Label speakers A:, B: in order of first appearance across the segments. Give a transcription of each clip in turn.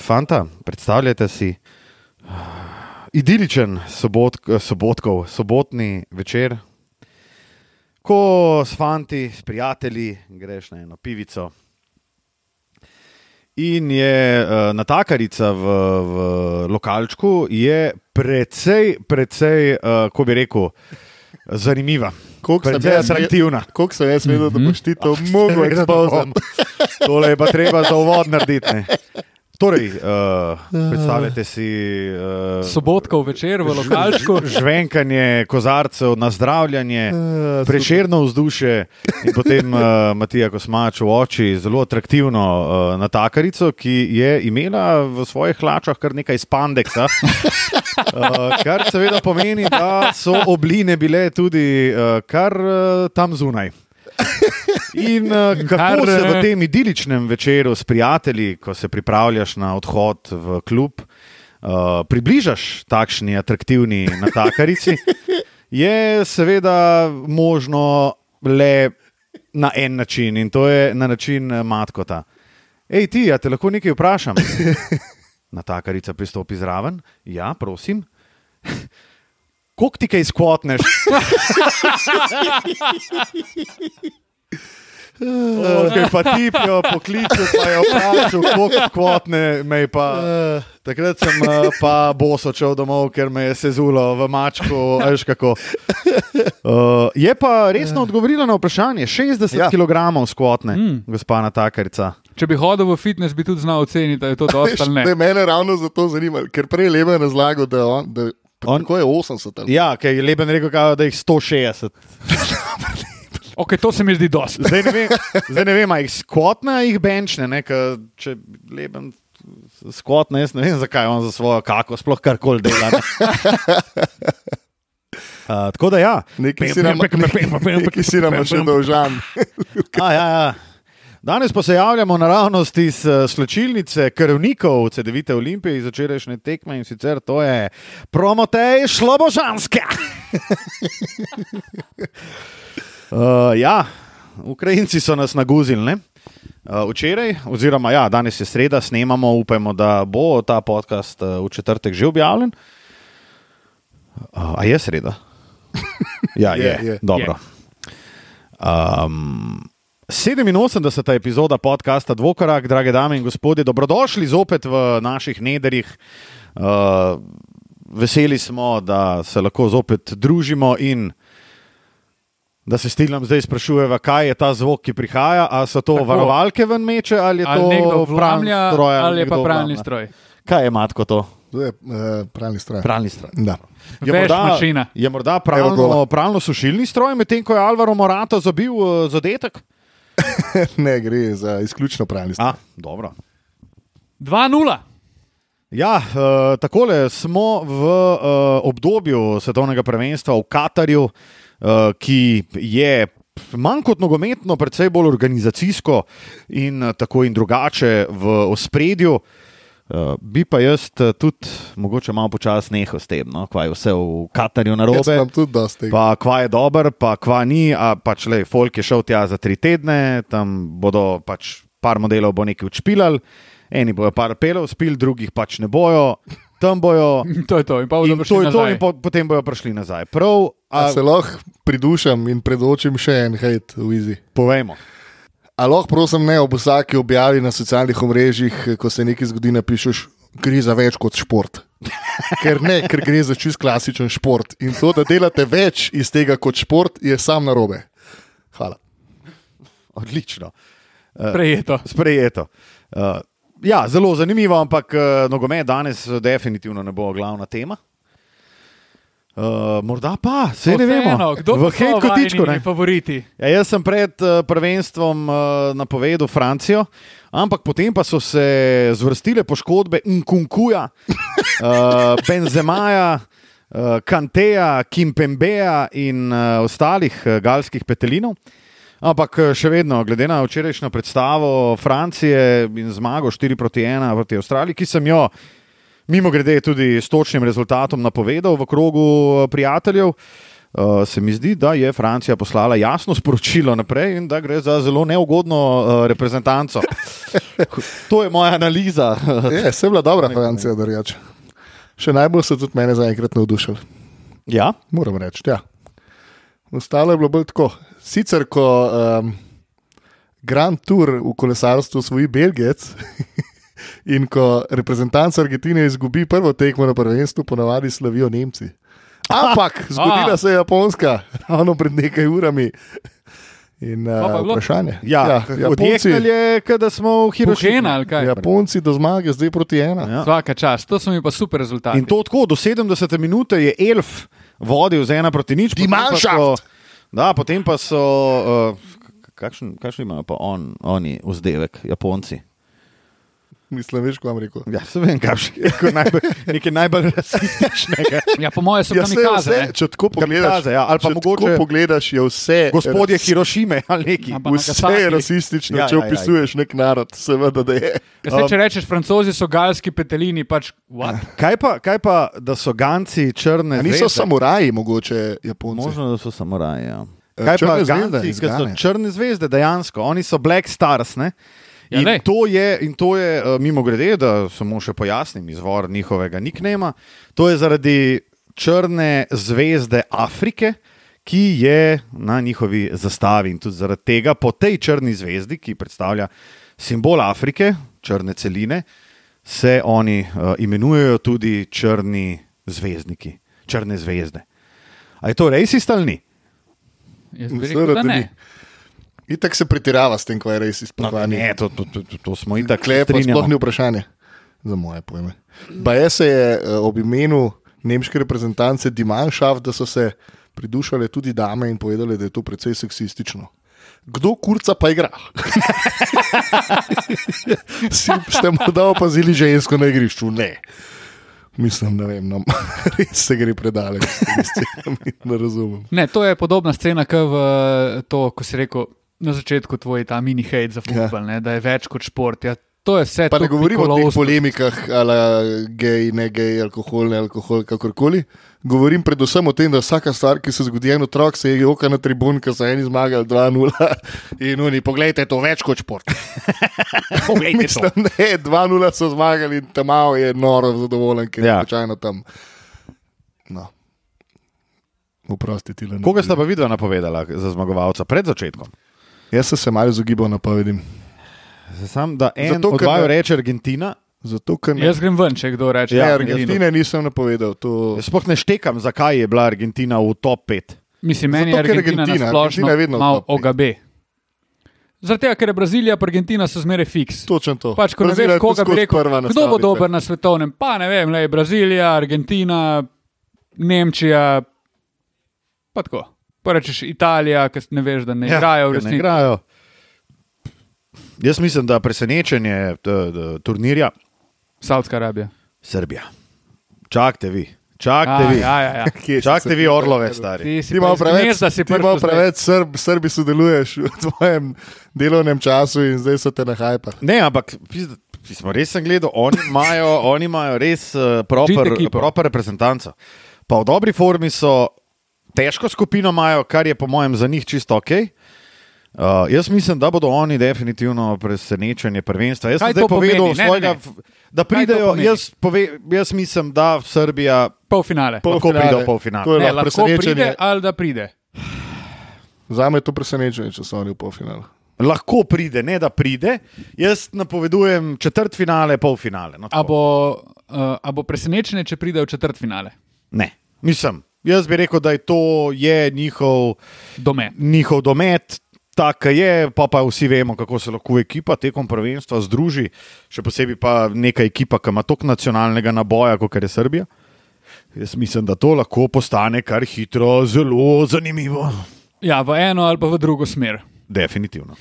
A: Fanta, predstavljajte si idiličen sobot, sobotkov, sobotni večer, ko s fanti, s prijatelji greš na eno pivico. In je eh, natakarica v, v lokalčku, je precej, precej, eh, ko bi rekel, zanimiva.
B: Koliko sem
A: Precej
B: jaz ve-
A: atraktivna.
B: Koliko sem jaz vedel, da boš ti to
A: Mogo
B: mogel ekspoziti?
A: Tole je pa treba za uvod narediti. ne. Torej, uh, predstavljajte si uh,
C: Sobotkov večer v lokalčku.
A: žvenkanje kozarcev, nazdravljanje, preširno vzdušje in potem uh, Matija Kosmač v oči zelo atraktivno uh, natakarico, ki je imela v svojih hlačah kar nekaj spandeksa. Uh, kar seveda pomeni, da so obline bile tudi uh, kar uh, tam zunaj. In uh, kako
C: Kar,
A: kar, se v
C: eh,
A: tem idiličnem večeru s prijatelji, ko se pripravljaš na odhod v klub, uh, približaš takšni atraktivni natakarici, je seveda možno le na en način in to je na način eh, matkota. Hej, ti, a te lahko nekaj vprašam? Natakarica pristopi zraven, ja, prosim. Kolik ti kaj skvotneš? Okay, Eh, pa ti jo pokličeš, pa je vprašal, koliko skvotne me je pa. Takrat sem eh, pa boso šel domov, ker me je sezulo v mačku, a veš kako. Uh, je pa resno odgovorila na vprašanje: 60 ja.
B: Ja.
A: kg skvotne, mm. gospa Natakarica.
C: Če bi hodil v fitness, bi tudi znal oceniti, da je to dovolj ali ne.
B: Ne, mene ravno zato zanima, ker prej lepo je razlagal, da, on, da
A: On-
B: on, tako je 80 ali
A: Ja, ker je Leben rekel, kao, da jih 160.
C: Okay, to se mi zdi dosti.
A: Zdaj ne vem, zdaj ne vem a jih skotne, a jih benčne. Ne, ker če Leben skotne, jaz ne vem, zakaj on za svojo kako sploh karkoli dela. ne. Uh, tako da ja.
B: Nekaj si nam- nekaj si nam še dolžan.
A: A, ja, ja. Danes pa se javljamo naravnost iz eh, slačilnice krvnikov CD-vite Olimpije iz včerajšnje tekme in sicer to je Promotej Šlobožanska. uh, ja, Ukrajinci so nas naguzili. ne? Uh, včeraj, oziroma ja, danes je sreda, snemamo, upajmo, da bo ta podcast uh, v četrtek že objavljen. Uh, a je sreda? Ja, je,
B: Je,
A: je, je.
B: je.
A: dobro. Je. Um, 87. epizoda podcasta Dvokorak, drage dame in gospodje, dobrodošli zopet v naših nederjih. Uh, veseli smo, da se lahko zopet družimo in da se stilom zdaj sprašujeva, kaj je ta zvok, ki prihaja. Ali so to Tako.
C: Tako.
A: varovalke ven meče, ali je
C: Ali
A: to
C: nekdo
A: pralni
C: vlamlja,
A: stroj,
C: ali je
A: nekdo
C: pa pralni
A: vlamlja.
C: stroj.
A: Kaj je matko to?
B: To je uh, pralni stroj.
A: Pralni stroj.
B: Da.
A: Je
C: Veš
A: morda,
C: mašina.
A: je morda
B: Evo gola.
A: pravno, pravno sušilni stroj, medtem ko je Alvaro Morato zabil uh, zadetek?
B: Ne gre za izključno pralni stroj.
A: A, dobro.
C: 2-0.
A: Ja, uh, takole smo v uh, obdobju svetovnega prvenstva v Katarju, uh, ki je manj kot nogometno, predvsej bolj organizacijsko in eh, tako in drugače v ospredju. Uh, bi pa jaz eh, tudi mogoče malo počasno nehal s tem, no? kaj je vse v Katarju
B: Jaz
A: narobe.
B: imam tudi dosti tega.
A: Pa kva je dober, pa kva ni, a pač le, folk je šel tja za tri tedne, tam bodo pač par modelov bo nekaj učpilal, eni bojo par pelov spil, drugih pač ne bojo, tam bojo.
C: To je to. In pa
A: In
C: bodo
A: to
C: prišli
A: je to,
C: nazaj.
A: in po, potem bojo prišli nazaj. Prav,
B: A
A: a,
B: se lahko pridušam in predočim še en hejt v Izi.
A: povejmo.
B: A lahko, prosim, ne ob vsaki objavi na socialnih omrežjih, eh, ko se nekaj zgodi, napišeš, gre za več kot šport. Ker ne, ker gre za čist klasičen šport. In to, da delate več iz tega kot šport, je sam narobe. Hvala.
A: Odlično.
C: Prejeto.
A: Sprejeto. Uh, ja, zelo zanimivo, ampak uh, nogomet danes uh, definitivno ne bo glavna tema. Uh, morda pa, se ne vemo,
C: Vseeno, Kdo
A: v
C: pa so
A: hej kotičku.
C: vajini Favoriti.
A: Ja, jaz sem pred eh, prvenstvom eh, napovedal Francijo, ampak potem pa so se zvrstile poškodbe Nkunkuja, eh, Benzemaja, eh, Kanteja, Kimpembeja in eh, ostalih eh, galskih petelinov. Ampak eh, še vedno, glede na včerajšnjo predstavo Francije in zmago 4 proti 1 proti Avstraliji, ki sem jo mimo grede tudi s točnim rezultatom napovedal v krogu eh, prijateljev. Uh, se mi zdi, da je Francija poslala jasno sporočilo naprej in da gre za zelo neugodno uh, reprezentanco. to je moja analiza.
B: Je, se je bila dobra Francija, da rečem. Še najbolj so tudi mene zaenkrat navdušili,
A: ja,
B: moram reči. Ja. Ostalo je bilo bolj tako. Sicer, ko um, Grand Tour v kolesarstvu osvoji Belgijec in ko reprezentanca Argentine izgubi prvo tekmo na prvenstvu, ponavadi slavijo Nemci. Ampak zgodila se je Japonska, ravno pred nekaj urami. In
C: pa je
B: uh,
C: bilo?
B: vprašanje.
A: ja, ja, odjeknil je, kot da smo v Hirošimi.
C: Hirošena ali kaj?
B: Japonci do zmage zdaj proti ena.
A: Ja.
C: Vsaka čast, to so mi pa super rezultati.
A: In to tako, do 70 minut je elf vodil z ena proti nič.
B: Die
A: potem pa so-
B: Mannschaft!
A: Da, potem pa so. Uh, kakšen, kakšen imajo pa on, oni vzdevek, Japonci?
B: Mislim, veš, kam rekel.
A: Ja, se vem, kakšen je kot najbolj, nekaj najbolj rasističnega.
C: Ja, po mojem so
B: Ja, saj je
C: kamikaze.
B: vse,
C: ne.
B: če tako pogledaš,
A: Kamikaze, ja, ali pa
B: če
A: mogoče-
B: tako pogledaš, je vse. Ja.
A: Gospodje
B: ras-
A: Hirošime ali neki.
C: Ampak-
B: Vse
C: Nagasaki.
B: je rasistično,
A: Ja,
B: ja, če
A: ja, ja.
B: opisuješ ja, ja. nek narod, seveda da je.
C: Ja, saj, če rečeš, francozi so galski petelini, pač what?
A: Kaj pa, kaj pa, da so ganci črne?
B: A niso
A: zvezde?
B: samuraji, mogoče Japonci.
A: Možno, da so samuraji. Ja.
B: E,
A: Kaj pa
B: črne zvezde
A: ganci,
B: iz
A: ki so
B: Gane?
A: črne zvezde, dejansko, oni so Black Stars. Ne?
C: Ja,
A: In,
C: glej.
A: to je, in to je, eh, mimo grede, da samo še pojasnim izvor njihovega niknema, to je zaradi črne zvezde Afrike, ki je na njihovi zastavi. In tudi zaradi tega po tej črni zvezdi, ki predstavlja simbol Afrike, črne celine, se oni uh, imenujejo tudi črni zvezdniki, črne zvezde. A je to resist ali ni?
C: Jaz bi
B: Seveda,
C: rekel, da
B: da
C: ne. No,
B: ni. Itak se pretirava s tem, ko je res izpopajanje.
A: No, Ne, to, to, to, to- to smo in tako
B: Klej pa sploh ni
A: strinjali.
B: vprašanje, za moje pojme. Baje se je eh, ob imenu nemške reprezentance Dimanšav, da so se pridušale tudi dame in povedale, da je to precej seksistično. Kdo kurca pa igra? Si ste morda opazili žensko na igrišču? Ne. Mislim, ne vem, no, res se gre predaleč, s temi scenami, ne razumem.
C: Ne, to je podobna scena, kot v to, ko si rekel na začetku tvoj ta mini hate za futbol, ja. da je več kot šport. Ja, to je vse.
B: Pa ne
C: tako
B: govorimo o teh
C: pikolovsko.
B: polemikah, ali gej, ne gej, alkohol, ne alkohol, kakorkoli. Govorim predvsem o tem, da vsaka stvar, ki se zgodi, en otrok se je joka na tribun, ki so eni zmagali 2-0 in oni, poglejte, to več kot šport. Mislim, ne, 2-0 so zmagali in tam je noro zadovoljen, ker
A: Ja.
B: je običajno tam. No. Oprosti ti le.
A: Koga sta pa vidva napovedala za zmagovalca pred začetkom?
B: Jaz sem se malo izogibal napovedim.
A: Sam, da en
B: Zato,
A: Zato,
B: ker
A: od vaju
B: ne-
A: reče Argentina.
B: Zato, ker ne.
C: Jaz grem ven, če kdo reče.
A: Ja,
B: ne,
A: jaz-
B: Argentine nisem napovedal. To...
A: Jaz sploh ne štekam, zakaj je bila Argentina v top 5.
C: Mislim, meni je
B: Zato, ker
C: Argentina,
B: Argentina,
C: Argentina splošno
B: Argentina je vedno v
C: malo
B: top pet.
C: OGB. Zaradi tega, ker je Brazilija, pa Argentina so zmeraj fiks.
B: Točno to.
C: Pač, ko ne
B: Brazilija je tudi
C: veš, koga bi
B: skozi
C: rekel,
B: prva ja. na
C: kdo bo
B: stavi,
C: dober na svetovnem, pa ne vem, le Brazilija, Argentina, Nemčija, pa tako. Pa rečeš Italija, ker ne veš, da ne ja, igrajo
A: ker
C: v
A: ne
C: resnici.
A: Igrajo. Jaz mislim, da presenečenje t, t, turnirja
C: Saudska Arabija.
A: Srbija. Čakajte vi, čakajte
C: Ja,
A: vi,
C: ja, ja.
B: Kje si
A: čakajte
B: se-
A: vi orlove, stari.
C: Ti si
B: Ti
C: pa
B: imaš
C: iz
B: preveč,
C: gnezda si
B: ti malo
C: prišel zdaj.
B: preveč Srb, Srbi sodeluješ v tvojem delovnem času in zdaj so te na hajpa.
A: Ne, ampak pizda, pismo, res sem gledal, oni imajo, oni imajo res uh, proper,
C: Žit ekipo.
A: proper reprezentanco. Pa v dobri formi so, težko skupino imajo, kar je po mojem za njih čisto ok. Uh, jaz mislim, da bodo oni definitivno presenečenje prvenstva. Jaz sem
C: Kaj to
A: zdaj povedal,
C: pomeni? Ne, ne,
A: svojega,
C: ne.
A: f- da
C: to
A: pridejo.
C: pomeni?
A: Jaz, pove, jaz mislim, da Srbija
C: Polfinale.
A: Lahko
B: Polfinale.
A: pride v polfinale.
B: To je
C: Ne,
B: lahko
C: lahko
B: presenečenje.
C: pride ali da pride.
B: Za me je to presenečenje, če so oni v polfinalu.
A: lahko pride, ne da pride. Jaz napovedujem četrt finale, pol finale. No,
C: A
A: tako.
C: bo, uh, a bo presenečenje, če pride v četrtfinale?
A: ne, mislim. Jaz bi rekel, da je to je njihov,
C: Dome.
A: njihov domet. Tako je, pa, pa vsi vemo, kako se lahko ekipa tekom prvenstva združi, še posebej pa neka ekipa, ki ima toliko nacionalnega naboja, kot je Srbija. Jaz mislim, da to lahko postane kar hitro zelo zanimivo.
C: Ja, v eno ali pa v drugo smer.
A: Definitivno.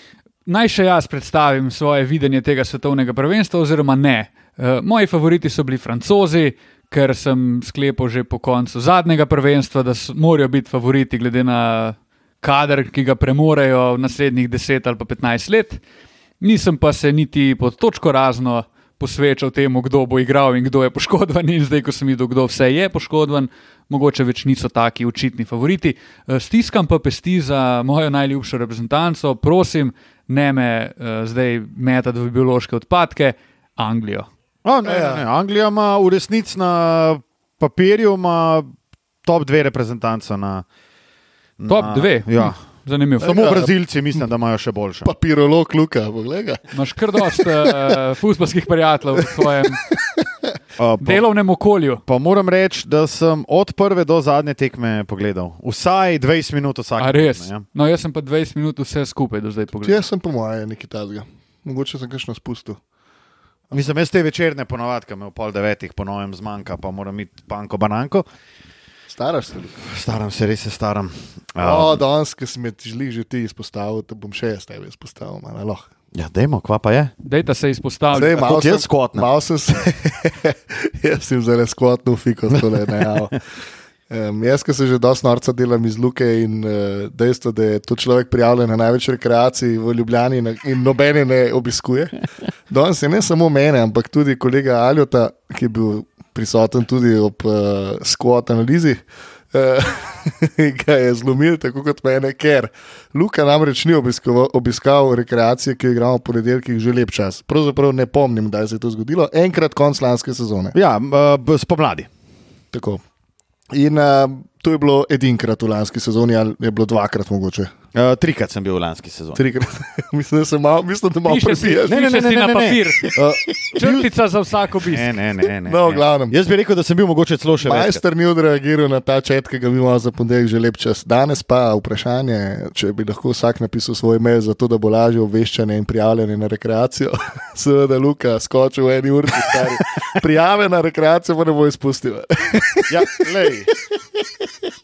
C: Naj še jaz predstavim svoje videnje tega svetovnega prvenstva, oziroma ne. Eh, Moji favoriti so bili francozi, ker sem sklepal že po koncu zadnjega prvenstva, da so, morajo biti favoriti glede na kader, ki ga premorejo v naslednjih 10 ali pa 15 let. Nisem pa se niti pod točko razno posvečal temu, kdo bo igral in kdo je poškodovan. In zdaj, ko sem videl, kdo vse je poškodovan, mogoče več niso taki očitni favoriti. Eh, Stiskam pa pesti za mojo najljubšo reprezentanco, prosim, ne me eh, zdaj metati v biološke odpadke, Anglijo.
A: O, ne, ne, ne. Anglija ima v resnici na papirju ima top dve reprezentanca. Na, na,
C: Top 2.
A: Ja.
C: Zanimivo.
A: Samo Brazilci mislim, da imajo še boljše.
B: Papirolog, Luka, poglej ga.
C: Imaš kar dost uh, futbalskih prijateljev v svojem
A: Uh, po,
C: delovnem okolju.
A: pa moram reči, da sem od prve do zadnje tekme pogledal. Vsaj 20 minut ja. vsak.
C: A res? No, jaz sem pa 20 minut vse skupaj do zdaj pogledal.
B: Jaz sem po mojem nekaj tazga. Mogoče sem kakšno spustil.
A: Mislim, jaz te večerne ponovadke me v pol devetih ponovem zmanjka, pa moram iti panko bananko.
B: Staraš se, Luka.
A: Staram se, res se staram. Uh,
B: O, danes, ki si me želi že ti izpostaviti, bom še jaz tebe izpostavil, malo lahko.
A: ja, dajmo, kva pa je.
C: Dejta se
B: Zdaj,
C: izpostavlja.
B: malo
A: kot jaz
B: sem-
A: skotnem.
B: Malo sem se, jaz sem zelo skotnil, fiko tole najavo. Um, jaz, ki se že dosta norca delam iz Luke in uh, dejstvo, da je to človek prijavljen na največ rekreacij v Ljubljani in, in nobene ne obiskuje. Danes je ne samo mene, ampak tudi kolega Aljota, ki je bil prisoten tudi ob uh, skot analizi, uh, ga je zlomil, tako kot mene, ker Luka namreč ni obiskal, obiskal rekreacije, ki jo igramo v ponedeljkih že lep čas. Pravzaprav ne pomnim, da se je to zgodilo, enkrat konc lanske sezone.
A: Ja, uh, spomladi.
B: Tako. In uh, to je bilo edinkrat v lanski sezoni, ali je bilo dvakrat mogoče.
A: Uh, trikrat sem bil v lanski sezoni.
B: Trikrat. mislim, da se malo, mislim, da malo Eh,
C: Piše si,
B: prebijaš.
A: Ne, ne, ne,
C: piše si
A: ne, ne,
C: na
A: ne.
C: papir.
A: Uh,
C: Črtica za vsako bistvo.
A: ne, ne, ne, ne,
B: No, v
A: ne.
B: glavnem.
A: Jaz bi rekel, da sem bil mogoče celo še več.
B: Majster ni odreagiral na ta čet, ki ga mi imamo za ponedeljek že lep čas. Danes pa vprašanje, če bi lahko vsak napisal svoj mail, zato da bo lažje obveščanje in prijavljanje na rekreacijo. Seveda, Luka, skočil v eni uri, stari. Prijave na rekreacijo pa ne bo izpustil.
A: Ja, lej.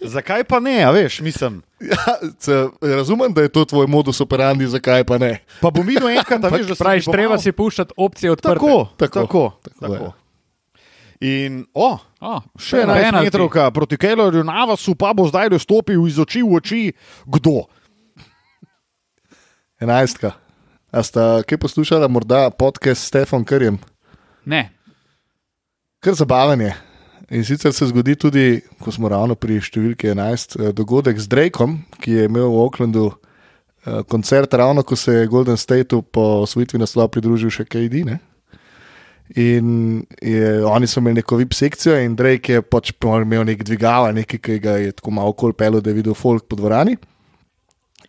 A: Zakaj pa ne, a veš, mislim.
B: ja, se, razumem, da je to tvoj modus operandi, zakaj pa ne.
A: Pa bom videl enkrat, a veš, da se mi
C: Praviš,
A: bo
C: Pač treba
A: malo-
C: si puščati opcije odprte.
A: Tako,
B: Tako,
A: tako, tako.
B: tako je.
A: tako. In o,
C: O,
A: še ena metrovka proti Kellerju, Navasu pa bo zdaj dostopil iz oči v oči, kdo.
B: Enajstka. A sta kaj poslušala, morda podcast s Stefanom Krjem?
C: Ne,
B: Kar zabaven je. In sicer se zgodi tudi, ko smo ravno pri številki 11, eh, dogodek z Drakom, ki je imel v Oaklandu eh, koncert, ravno ko se je Golden Stateu po osvojitvi naslova pridružil še KD. Ne? In je, oni so imeli neko VIP sekcijo, in Drake je pač po mojem imel nek dvigala, nekaj, ki ga je tako malo okol pelo, da je videl folk po dvorani.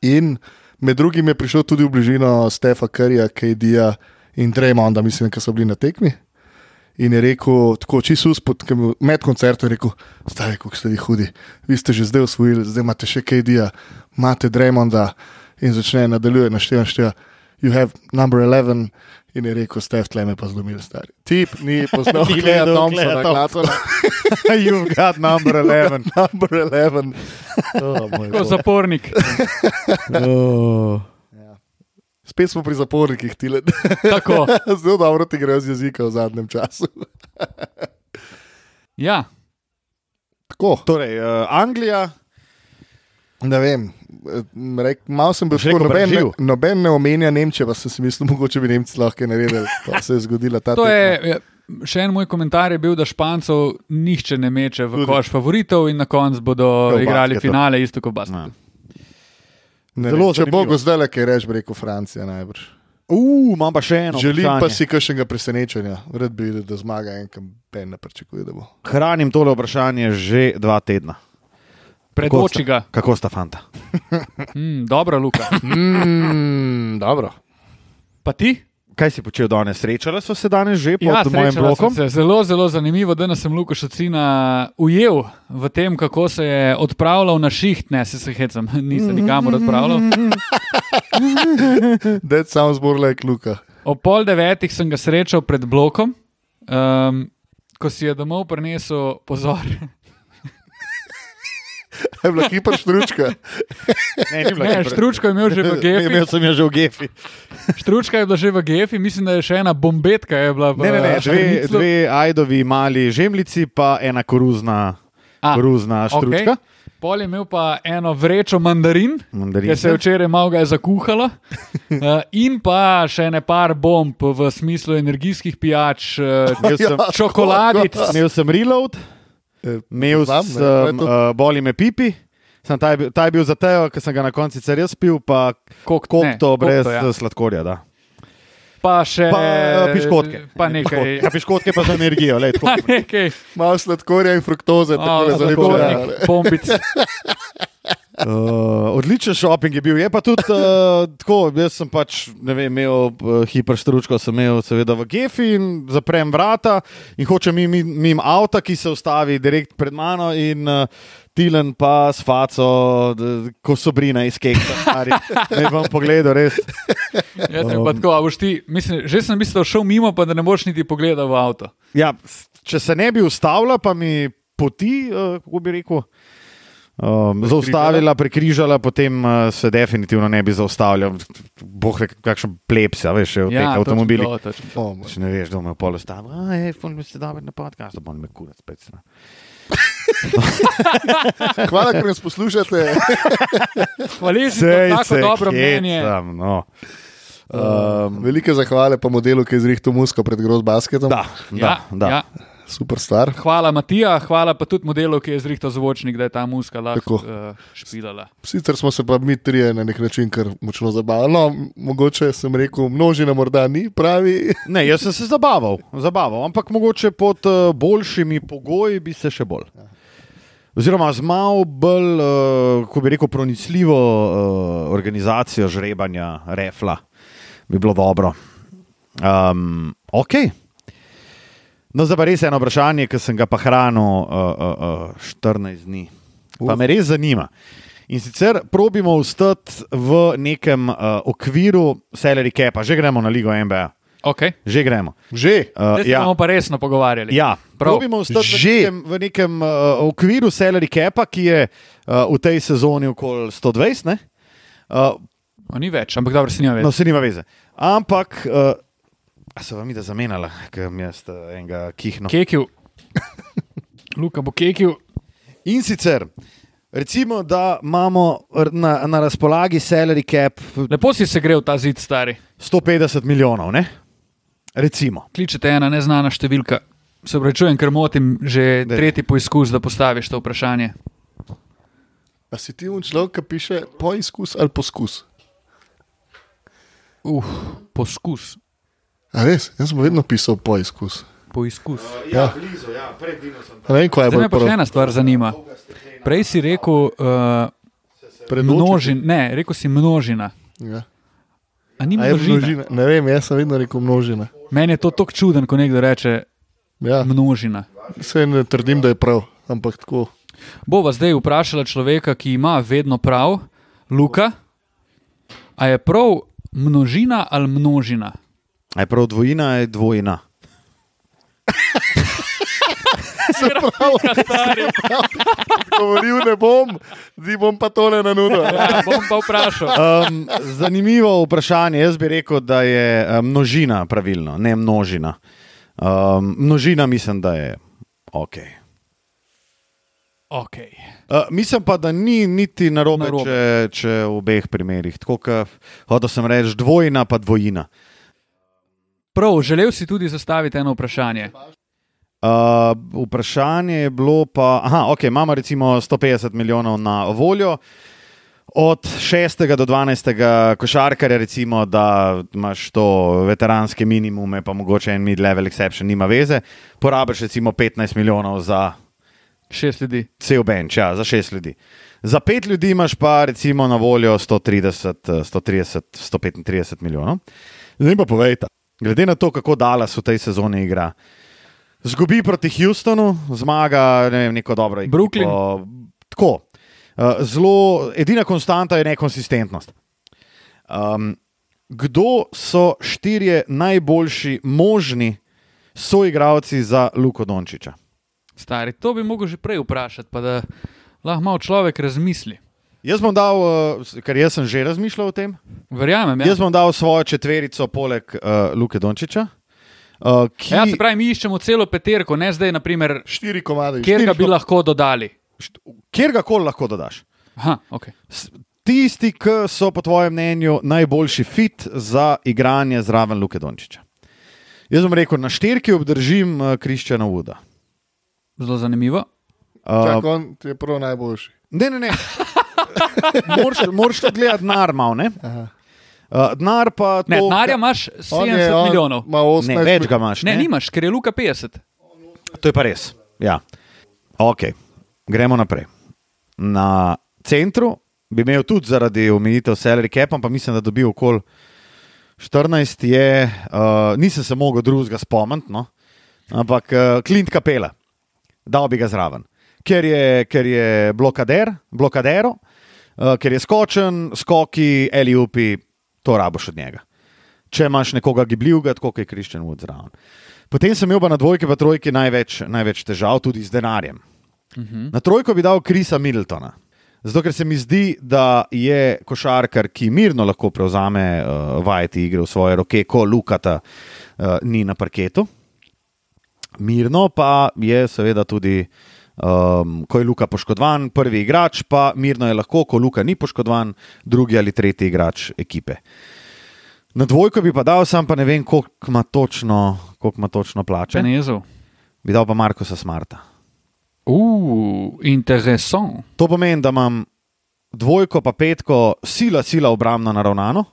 B: In med drugim je prišel tudi v bližino Stefa Curryja, KD-ja in Draymonda, mislim, ki so bili na tekmi. In je rekel, tako čisto uspod, ki je bil med koncertom je rekel, zdaj, kako ste vi hudi, vi ste že zdaj usvojili, zdaj imate še KD-ja, imate Draymonda in začne nadaljuje, našteva, našteva, you have number 11. In je rekel, ste tle me pa zlomili, stari. Tip ni poznal,
A: Ni
B: Klaya
A: vedel
B: Thompsona,
A: Klaya Thompsona.
B: Thompsona.
A: You've got number 11.
B: number 11. Oh, moj
C: kot
B: bog.
C: zapornik.
A: Oh.
B: Spet smo pri zapornikih, tile.
C: Tako.
B: Zelo dobro ti grejo z jezika v zadnjem času.
C: Ja,
B: Tako,
A: Torej, uh, Anglija,
B: ne vem. eh, Rek, Mal sem bil
A: Boš
B: tako,
A: rekel
B: noben, ne,
A: Brazil?
B: noben ne omenja Nemčije, pa sem si mislil, mogoče bi Nemci lahko kaj naredili. Pa se je zgodila ta
C: to
B: tekma.
C: je. je, Še en moj komentar je bil, da Špancov nihče ne meče v
B: Tudi.
C: koš favoritov in na koncu bodo
B: Ja, v
C: igrali
B: basketu.
C: finale, isto kot Basket.
A: Ja.
B: Ne
A: zelo
B: vem, Če
A: zanimivo.
B: bo zdaj le kaj reč, bi rekel Francija najbrž.
A: uh, imam pa še eno.
B: Želim pa
A: vprašanje.
B: si kakšnega presenečenja. Rad bi videl, da zmaga en, kam Ben ne pričakuje, da bo.
A: Hranim tole vprašanje že dva tedna.
C: Pred
A: Kako sta-
C: oči ga.
A: Kako sta fanta?
C: Mm, dobro, Luka.
B: Mm, dobro.
C: Pa ti?
A: Kaj si počel danes? Srečala so se danes že pod
C: Ja,
A: mojim
C: srečala sem
A: blokom.
C: se. Zelo, zelo zanimivo. Danes sem Luka Šocina ujel v tem, kako se je odpravljal na šiht. Ne, se, se hecam, nisem nikamor odpravljal.
B: Dec sam zborla je kluka.
C: Ob pol devetih sem ga srečal pred blokom, um, ko si je domov prinesel pozor.
B: Je bila kipa štručka.
A: Ne, ni bilo
C: Ne,
A: kaj pre-
C: Štručko je imel že v GF.
A: Imel sem jo že v gefi.
C: Štručka je bila že v GF, mislim, da je še ena bombetka. Uh, je bila v
A: Ne, ne, ne, dve,
C: Šarniclu.
A: dve ajdovi mali žemljici, pa ena koruzna,
C: A,
A: koruzna
C: okej.
A: štručka. Okay.
C: Pol je imel pa eno vrečo mandarin,
A: Mandarine.
C: ki se je včeraj malo ga je zakuhala, eh, in pa še ne par bomb v smislu energijskih pijač, eh,
A: Imel sem,
B: Ja.
C: čokoladic.
A: imel sem reload, imel
B: E, Znam, ne, to je
A: sem
B: to.
A: uh, boli me pipi. Sem ta, je bil, ta je bil za tejo, ker sem ga na koncu sicer jaz pil, pa
C: Kokt, ne,
A: kokto brez
C: kokto, ja.
A: ja. sladkorja. Da.
C: Pa še
A: Pa eh, piškotke.
C: Pa nekaj.
A: Piškotke, ja, piškotke pa za energijo. Lej,
C: Pa nekaj.
B: Malo sladkorja in fruktoze, tako da zalepo.
A: ja.
C: Pompic.
A: Uh, odličen šoping je bil, je pa tudi uh, tako. Jaz sem pač ne vem, imel uh, hiperštručko, sem imel seveda v Gefi in zaprem vrata in hočem mim, mim, mim avta, ki se ustavi direkt pred mano in uh, Tilen pa s faco, d- ko sobrina iz Keksa. Ne bom pogledal, res.
C: Jaz sem pa Ja, tako, a boš ti, mislim, že sem v bistvu šel mimo, pa da ne boš niti pogledal v avto.
A: Ja, s- če se ne bi ustavila, pa mi poti, uh, kako bi rekel. Um, zaustavila, prekrižala, potem uh, se definitivno ne bi zaustavljal. Boh ve, kakšen plebs, a veš, v ja, teh
C: točno
A: avtomobilih.
C: to, točno to.
A: Če ne veš, kdo me polo stavi, a je, ful, si dober na podcast, pa me kurac spet. stran."
B: Hvala, ker nas poslušate.
C: Hvaležni za tako dobro
A: hecam,
C: mnenje.
A: No. Um,
B: Velike zahvale pa modelu, ki je zrihtel musko pred groz basketom.
A: da, da,
C: Ja,
A: da.
C: ja.
B: Super stvar.
C: Hvala Matija, hvala pa tudi modelu, ki je zrihtal zvočnik, da je ta muska lahko
B: Tako.
C: uh, špilala.
B: Sicer smo se pa mi trije na nek način kar močno zabavali. No, mogoče sem rekel, množina morda ni pravi.
A: Ne, jaz sem se zabaval, zabaval, ampak mogoče pod eh, boljšimi pogoji bi se še bolj. Oziroma, z malo bolj, eh, kako bi rekel, pronicljivo eh, organizacijo žrebanja, refla, bi bilo dobro. Um, ok. No, zdaj pa res eno vprašanje, ki sem ga pa hranil uh, uh, uh, 14 dni. Pa me res zanima. In sicer probimo vstati v nekem uh, okviru Celery Kepa, že gremo na Ligo MBA,
C: Okay.
A: že gremo.
B: Že.
A: Uh,
C: Zdaj se
A: Eh, ja.
C: bomo pa resno pogovarjali.
A: Ja,
C: Prav.
A: probimo vstati v
B: Že.
A: nekem, v nekem uh, okviru Celery Kepa, ki je uh, v tej sezoni okoli 120, ne? Uh,
C: No, ni več, ampak dobro se njima
A: no,
C: več.
A: se nima veze. Ampak, uh, a se vam je da zamenjala, ker mi je uh, enega kihno.
C: Kekil. No. Luka bo kekil.
A: In sicer, recimo, da imamo r- na, na razpolagi salary cap
C: Lepo si se grel ta zid, stari.
A: 150 milijonov, ne? Recimo.
C: Kličete ena neznana številka. Se pravičujem, ker motim že
A: Daj.
C: tretji poizkus, da postaviš to vprašanje.
B: A si ti un človek, ki piše poizkus ali poskus?
C: Uf, poskus,
B: A res, jaz sem vedno pisal poizkus.
C: poizkus.
B: Ja,
A: blizu, ja, pred Dino sem
B: Ne vem, kaj je
C: Zdaj
B: bilo
C: me pa še ena stvar zanima. Prej si rekel uh, množina, ne, rekel si množina.
B: Ja.
C: A ni
B: A je
C: množina?
B: množina? Ne vem, jaz sem vedno rekel množina.
C: Meni je to tako čuden, ko nekdo reče
B: Ja.
C: množina.
B: Se ne trdim, da je prav, ampak tako.
C: Bova zdaj vprašala človeka, ki ima vedno prav, Luka, a je prav množina ali množina?
A: Je prav dvojina, je dvojina.
B: Govoril ne bom, zdaj bom pa tole na nudo.
C: Ja, bom pa vprašal.
A: Um, zanimivo vprašanje. Jaz bi rekel, da je eh, množina pravilno, ne množina. Um, množina mislim, da je ok.
C: Okay.
A: Uh, mislim pa, da ni niti narobe,
C: Narobe.
A: narobe. Če, če v obeh primerih. Tako kot hotel sem reči, dvojina pa dvojina.
C: Prav, želel si tudi zastaviti eno vprašanje.
A: Uh, vprašanje je bilo pa, aha, ok, imamo recimo 150 milijonov na voljo. Od 6. do 12. košarkarja, recimo, da imaš to veteranske minimume, pa mogoče en mid-level exception, nima veze, porabiš recimo 15 milijonov za
C: Šest ljudi.
A: cel bench, ja, za 6 ljudi. Za 5 ljudi imaš pa recimo na voljo 130, eh, 130 135 milijonov. Zdaj pa povejte, glede na to, kako Dallas v tej sezoni igra. Zgubi proti Houstonu, zmaga ne vem, neko dobro igro.
C: Brooklyn.
A: Tako. Eh, Zelo, edina konstanta je nekonsistentnost. Um, kdo so štirje najboljši možni soigralci za Luko Dončiča?
C: Stari, to bi mogel že prej vprašati, pa da lahko malo človek razmisli.
A: Jaz bom dal, eh, ker jaz sem že razmišljal o tem,
C: Verjamem,
A: ja.
C: ja.
A: jaz bom dal svojo četverico poleg uh, Luke Dončiča. Uh, ki,
C: Ja, se pravi, mi iščemo celo peterko, ne zdaj, naprimer,
B: Štiri komade.
C: kjer ga bi lahko dodali.
A: kjer ga koli lahko dodaš.
C: Aha, okay.
A: S- Tisti, ki so po tvojem mnenju najboljši fit za igranje zraven Luke Dončiča. Jaz bom rekel, na štirki obdržim eh, Kristjana Vuda. Eh,
C: Zelo zanimivo.
B: Čak, on ti je prav najboljši.
A: Ne, ne, ne. Moraš- Moraš to gledati denar, malo ne. Uh, denar pa to.
C: Ne, denarja imaš 70
B: On
C: je,
B: on
C: milijonov.
B: ima 18
A: Ne, več ga
B: mil-
A: imaš.
C: Ne, nimaš, ker je Luka 50.
A: To je pa res. Ja. Okay. Gremo naprej. Na centru bi imel tudi zaradi omejitev salary cap, pa mislim, da dobi okoli 14. Je, uh, nisem se mogel drugega spomniti, no? ampak uh, Klint Kapela, dal bi ga zraven. Ker je, ker je blokader, blokadero, uh, ker je skočen, skoki, ali upi, to raboš od njega če imaš nekoga gibljivega, tako kot je Kriščen Wood zraven. Potem sem imel pa na dvojki, pa trojki največ, največ težav, tudi z denarjem. Uh -huh. Na trojko bi dal Krisa Middletona. Zato, ker se mi zdi, da je košarkar, ki mirno lahko prevzame uh, vajeti igre v svoje roke, ko Lukata uh, ni na parketu. Mirno pa je seveda tudi, um, ko je Luka poškodovan, prvi igrač, pa mirno je lahko, ko Luka ni poškodovan, drugi ali tretji igrač ekipe. Na dvojko bi pa dal, sam pa ne vem, koliko ima točno, koliko ima točno plače.
C: Čenezov.
A: Bi dal pa Markoša Smarta.
C: Uh, interesant.
A: To pomeni, da imam dvojko, pa petko, sila, sila obrambno naravnano,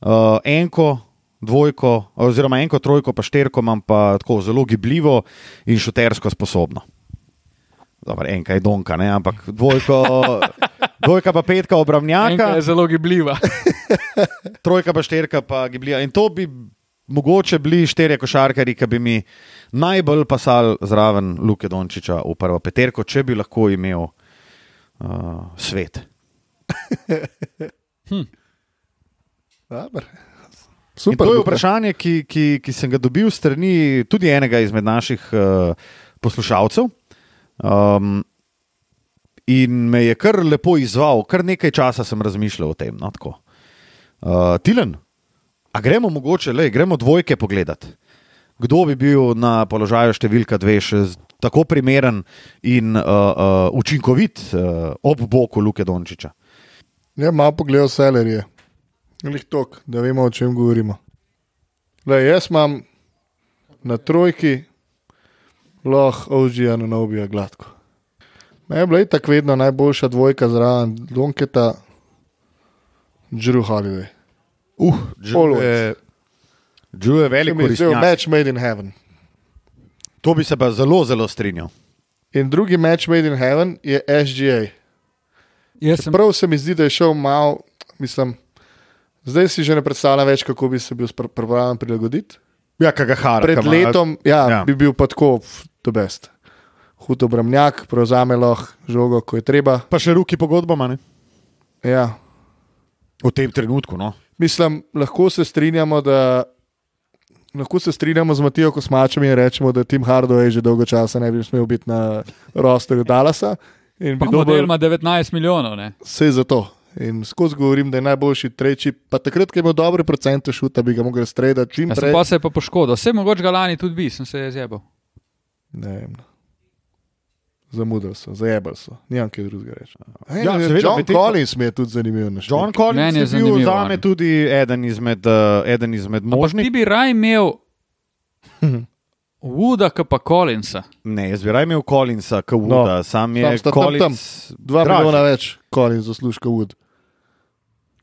A: uh, enko, dvojko, oziroma enko, trojko, pa šterko imam pa tako zelo gibljivo in šutersko sposobno. Dobar, enka je donka, ne? ampak dvojko, dvojka pa petka
C: Enka
A: obramnjaka.
C: je zelo gibljiva.
A: trojka, pa šterka, pa giblija. In to bi mogoče bili štirje košarkari, ki bi mi najbolj pasali zraven Luke Dončiča v prvo peterko, če bi lahko imel uh, svet.
B: Dobar.
A: In
B: Super,
A: to je
B: Luka.
A: vprašanje, ki, ki, ki sem ga dobil strani tudi enega izmed naših uh, poslušalcev. Um, in me je kar lepo izzval, kar nekaj časa sem razmišljal o tem. No, tako. uh, Tilen, a gremo mogoče, le gremo dvojke pogledat. Kdo bi bil na položaju številka dve še z- tako primeren in uh, uh, učinkovit uh, ob boku Luke Dončiča?
B: Ja, malo pogledal selerije. Lih tok, da vemo, o čem govorimo. Le, jaz imam na trojki lahko ožija na nobija gladko. Me je bila itak vedno najboljša dvojka zraven Donketa, Drew Holiday.
A: Uh,
B: Always.
A: Džuje
B: Se
A: velik
B: mi eh, je zdel
A: koristnik.
B: Match made in heaven.
A: To bi se pa zelo, zelo strinjal.
B: In drugi match made in heaven je SGA.
C: Jaz sem
B: Prav se mi zdi, da je šel malo, mislim, zdaj si že ne predstavljam več, kako bi se bil spra- pripravljen prilagoditi.
A: Ja, kaj ga hara.
B: Pred letom ja,
A: Ja.
B: ja. bi bil pa tako do best. Hud obrambnjak, prevzame lahko žogo, ko je treba.
A: Pa še ruki pogodbama, ne?
B: Ja.
A: V tem trenutku, no.
B: Mislim, lahko se strinjamo, da. Lahko se strinjamo z Matijo Kosmačem in rečemo, da Tim Hardaway že dolgo časa ne bi smel biti na rosterju Dallasa. in bi
C: pa
B: dobil-
C: model ima 19 milijonov. Ne?
B: Vse za to. In skozi govorim, da je najboljši treči, pa takrat, ko je imel dobre procente šuta, bi ga mogel streljati čim
C: Ja, sem
B: prej.
C: pa se je pa poškodoval. Vse mogoče ga lani tudi bi, sem se je zjebal.
B: Ne vem. no. Zamudili so, zajebali so, nimam kaj drugega reči.
A: Ja,
B: Ja,
A: seveda,
B: John
A: bi te-
B: Collins mi je tudi zanimiv.
A: John
B: na številki.
A: Collins
C: Meni
A: je
C: je
A: bil
C: zanimiv,
A: za me
C: on.
A: tudi eden izmed, uh, eden izmed
C: Ti
A: možnih.
C: bi raje imel
A: Mhm.
C: Wooda, kot pa Collinsa.
A: Ne, jaz bi raje imel Collinsa, kot
B: No.
A: Wuda. No. Sam je
B: Tam sta tam,
A: Collins.
B: Dva
A: dražji.
B: milijona več, Collins zaslužka Wood.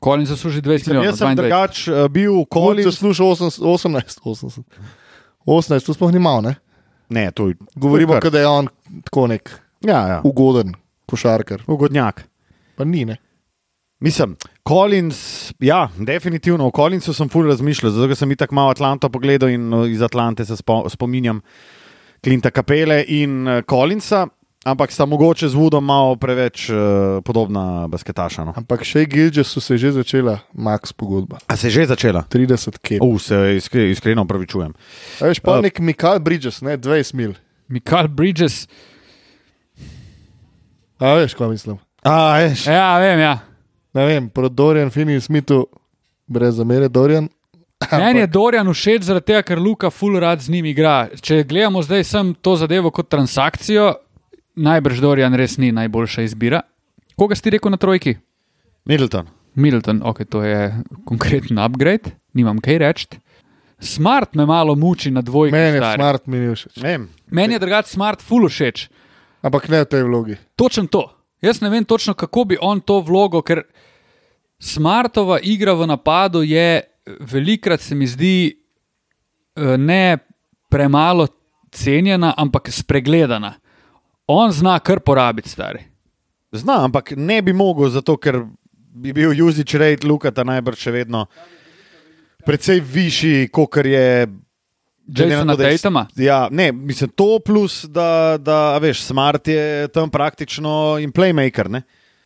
C: Collins zasluži 20
A: Mislim, jaz sem
C: milijonov.
A: drugač eh, bil
B: Collins
A: Collins.
B: zasluži 18, 18, 18. 18, to sploh ni malo, ne?
A: Ne, to je.
B: Govorimo,
A: Kar.
B: kot da je on tako nek
A: Ja, ja.
B: ugoden košarkar.
A: Ugodnjak.
B: Pa ni, ne?
A: Mislim, Collins, ja, definitivno o Collinsu sem ful razmišljal, zato ker sem itak malo Atlanto pogledal in eh, iz Atlante se spo, spominjam Klinta Kapele in eh, Collinsa, ampak sta mogoče z Woodom malo preveč uh, podobna basketaša. No.
B: Ampak še Gilges so se že začela, Max pogodba.
A: A se je že začela?
B: 30 km.
A: Uh, se iskre, iskreno opravičujem.
B: A veš, pa
A: Uh,
B: nek Mikael Bridges, ne, 20 mil.
C: Mikael Bridges.
B: A veš, kaj mislim.
A: A, ješ,
C: Ja, vem, ja.
B: Ne vem, pro Dorian Finney Smithu, brez zamere Dorian.
C: Meni je Dorian všeč zaradi tega, ker Luka full rad z njim igra. Če gledamo zdaj sem to zadevo kot transakcijo, najbrž Dorian res ni najboljša izbira. Koga si ti rekel na trojki?
A: Middleton.
C: Middleton, ok, to je konkreten upgrade, nimam kaj reči. Smart me malo muči na dvojki.
B: Meni je
C: stari.
B: smart, mi je všeč.
A: Ne vem.
C: Meni je drugače smart, full všeč.
B: Ampak ne v tej vlogi.
C: Točen to. Jaz ne vem točno, kako bi on to vlogo, ker smartova igra v napadu je velikrat, se mi zdi, eh, ne premalo cenjena, ampak spregledana. On zna kar porabiti, stari.
A: Zna, ampak ne bi mogel, zato ker bi bil Juzič rejt Lukata najbrž še vedno precej višji, kot je. glede na
C: Jasona
A: to, da je-
C: Tatuma?
A: Ja, ne, mislim, to plus, da, da a veš, smart je tam praktično in playmaker. Ne?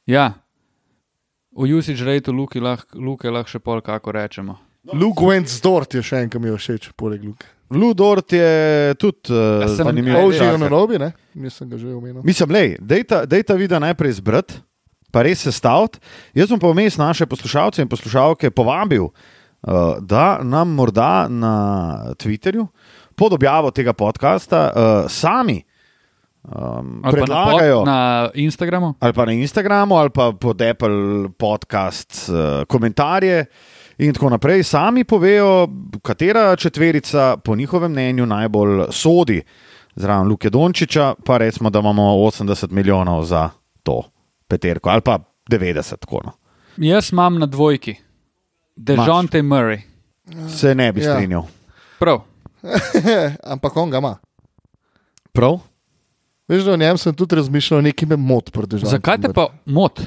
C: Ja. V usage rateu Luke lahko lah še pol, kako rečemo.
B: Luke Wenzdort je še en, ki mi je všeč, poleg Luke.
A: Ludort je tudi uh,
C: Ja, sem-
A: zanimiv.
C: Ja,
B: Oživljen
A: karakter.
B: na robi, ne? Nisem ga že omenil.
A: Mislim, lej, dejta, dejta vidi najprej zbrati, pa res sestaviti. Jaz bom pa vmes naše poslušalce in poslušalke povabil, uh, da nam morda na Twitterju pod objavo tega podcasta uh, sami um,
C: Ali pa na, pod,
A: predlagajo.
C: na Instagramu?
A: Ali pa na Instagramu, ali pa pod Apple podcast, uh, komentarje in tako naprej. Sami povejo, katera četverica po njihovem mnenju najbolj sodi zraven Luke Dončiča, pa recimo, da imamo 80 milijonov za to peterko, ali pa 90, tako no.
C: Jaz imam na dvojki. Dežonte Murray.
A: Se ne bi
B: Ja.
A: strinjal.
C: Prav.
B: Ampak on ga ima.
A: Prav?
B: Veš, da o njem sem tudi razmišljal, nekaj me moti pred državo.
C: Zakaj te pa moti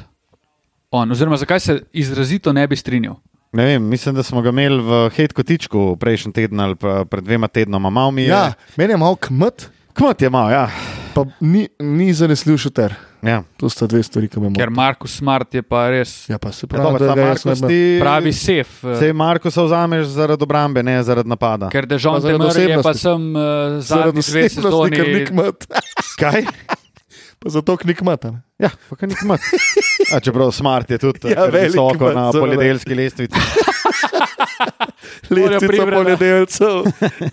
C: on, oziroma zakaj se izrazito ne bi strinjal?
A: Ne vem, mislim, da smo ga imeli v Hetko Tičku prejšnji teden ali pa pred dvema tednoma. Mal mi je.
B: Ja, meni je malo kmet,
A: Kmet je mal, ja.
B: pa ni, ni zanesljiv šuter.
A: ja.
B: To sta dve stvari, ki me motijo.
C: Ker Markus Smart je pa res
B: Ja, pa se
A: Ja,
B: pravi,
A: dobro,
B: da
A: ta
B: ga jaz
A: Markus,
B: ne bi-
A: ti-
C: pravi sef. eh,
A: Sej Marko se vzameš zaradi obrambe, ne zaradi napada.
C: Ker
B: Pa
C: Dežonte
B: zaradi
C: Murray je pa
B: osebnosti.
C: sem uh,
B: zaradi
C: zadnji dve
B: osebnosti, ker ni
C: sezoni.
B: kmet.
A: Kaj?
B: Pa zato, ker ni kmet. a ne.
A: Ja, pa kar ni kmat. A, čeprav smart je tudi
B: Ja,
A: ja,
B: velik
A: visoko
B: kmet,
A: na
B: seveda.
A: poljedelski lestvici.
C: Morajo
B: Lestvica
C: pribrana.
B: poljedelcev.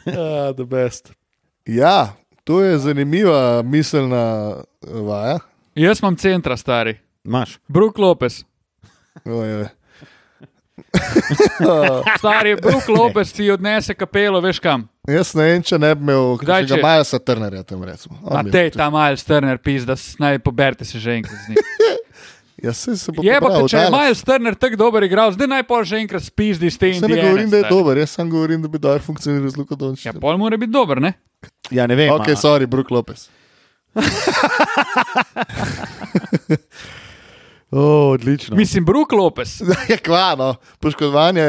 B: Ja, the best. Ja, to je zanimiva miselna vaja.
C: Jaz imam centra, stari.
A: Imaš.
C: Brook Lopez.
B: Oj, oj.
C: Stari Brook Lopez ti odnese kapelo, veš kam.
B: Jaz ne vem, če ne bi imel
C: Kdaj,
B: kakšnega
C: če-
B: Majasa Trnerja tam recimo. On
C: Na
B: bi-
C: tej ta Miles Turner pis, da s- naj poberte se že enkrat z njim.
B: Jaz se, Ja, se bom
C: Je pa,
B: pobral,
C: če je
B: Dallas.
C: Miles Turner tako dober igral, zdaj naj pa že enkrat spizdi s tem.
B: Saj ne govorim, da je dober, jaz sam govorim, da bi dobro funkcioniral z Luko
C: Ja,
B: Dončićem.
C: pol mora biti dober, ne?
A: Ja, ne vem.
B: ok,
A: a-
B: sorry, Brook Lopez.
A: O,
B: No.
A: odlično.
C: Mislim, Brook Lopez.
B: je kvano, Ja, no. poškodovanje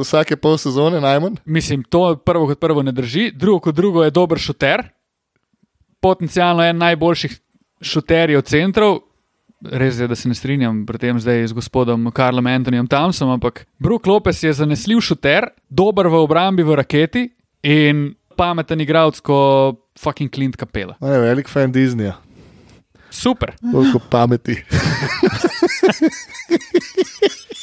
B: vsake pol sezone najmanj.
C: Mislim, to prvo kot prvo ne drži, drugo kot drugo je dober šuter, potencialno en najboljših šuterjev centrov. Res je, da se ne strinjam pri tem zdaj z gospodom Karlom Antonijem Thompsonom, ampak Brook Lopes je zanesljiv šuter, dober v obrambi v raketi in pameten igralec kot fucking Clint Capela.
B: On je velik fan Disneyja,
C: Super.
B: toliko pameti.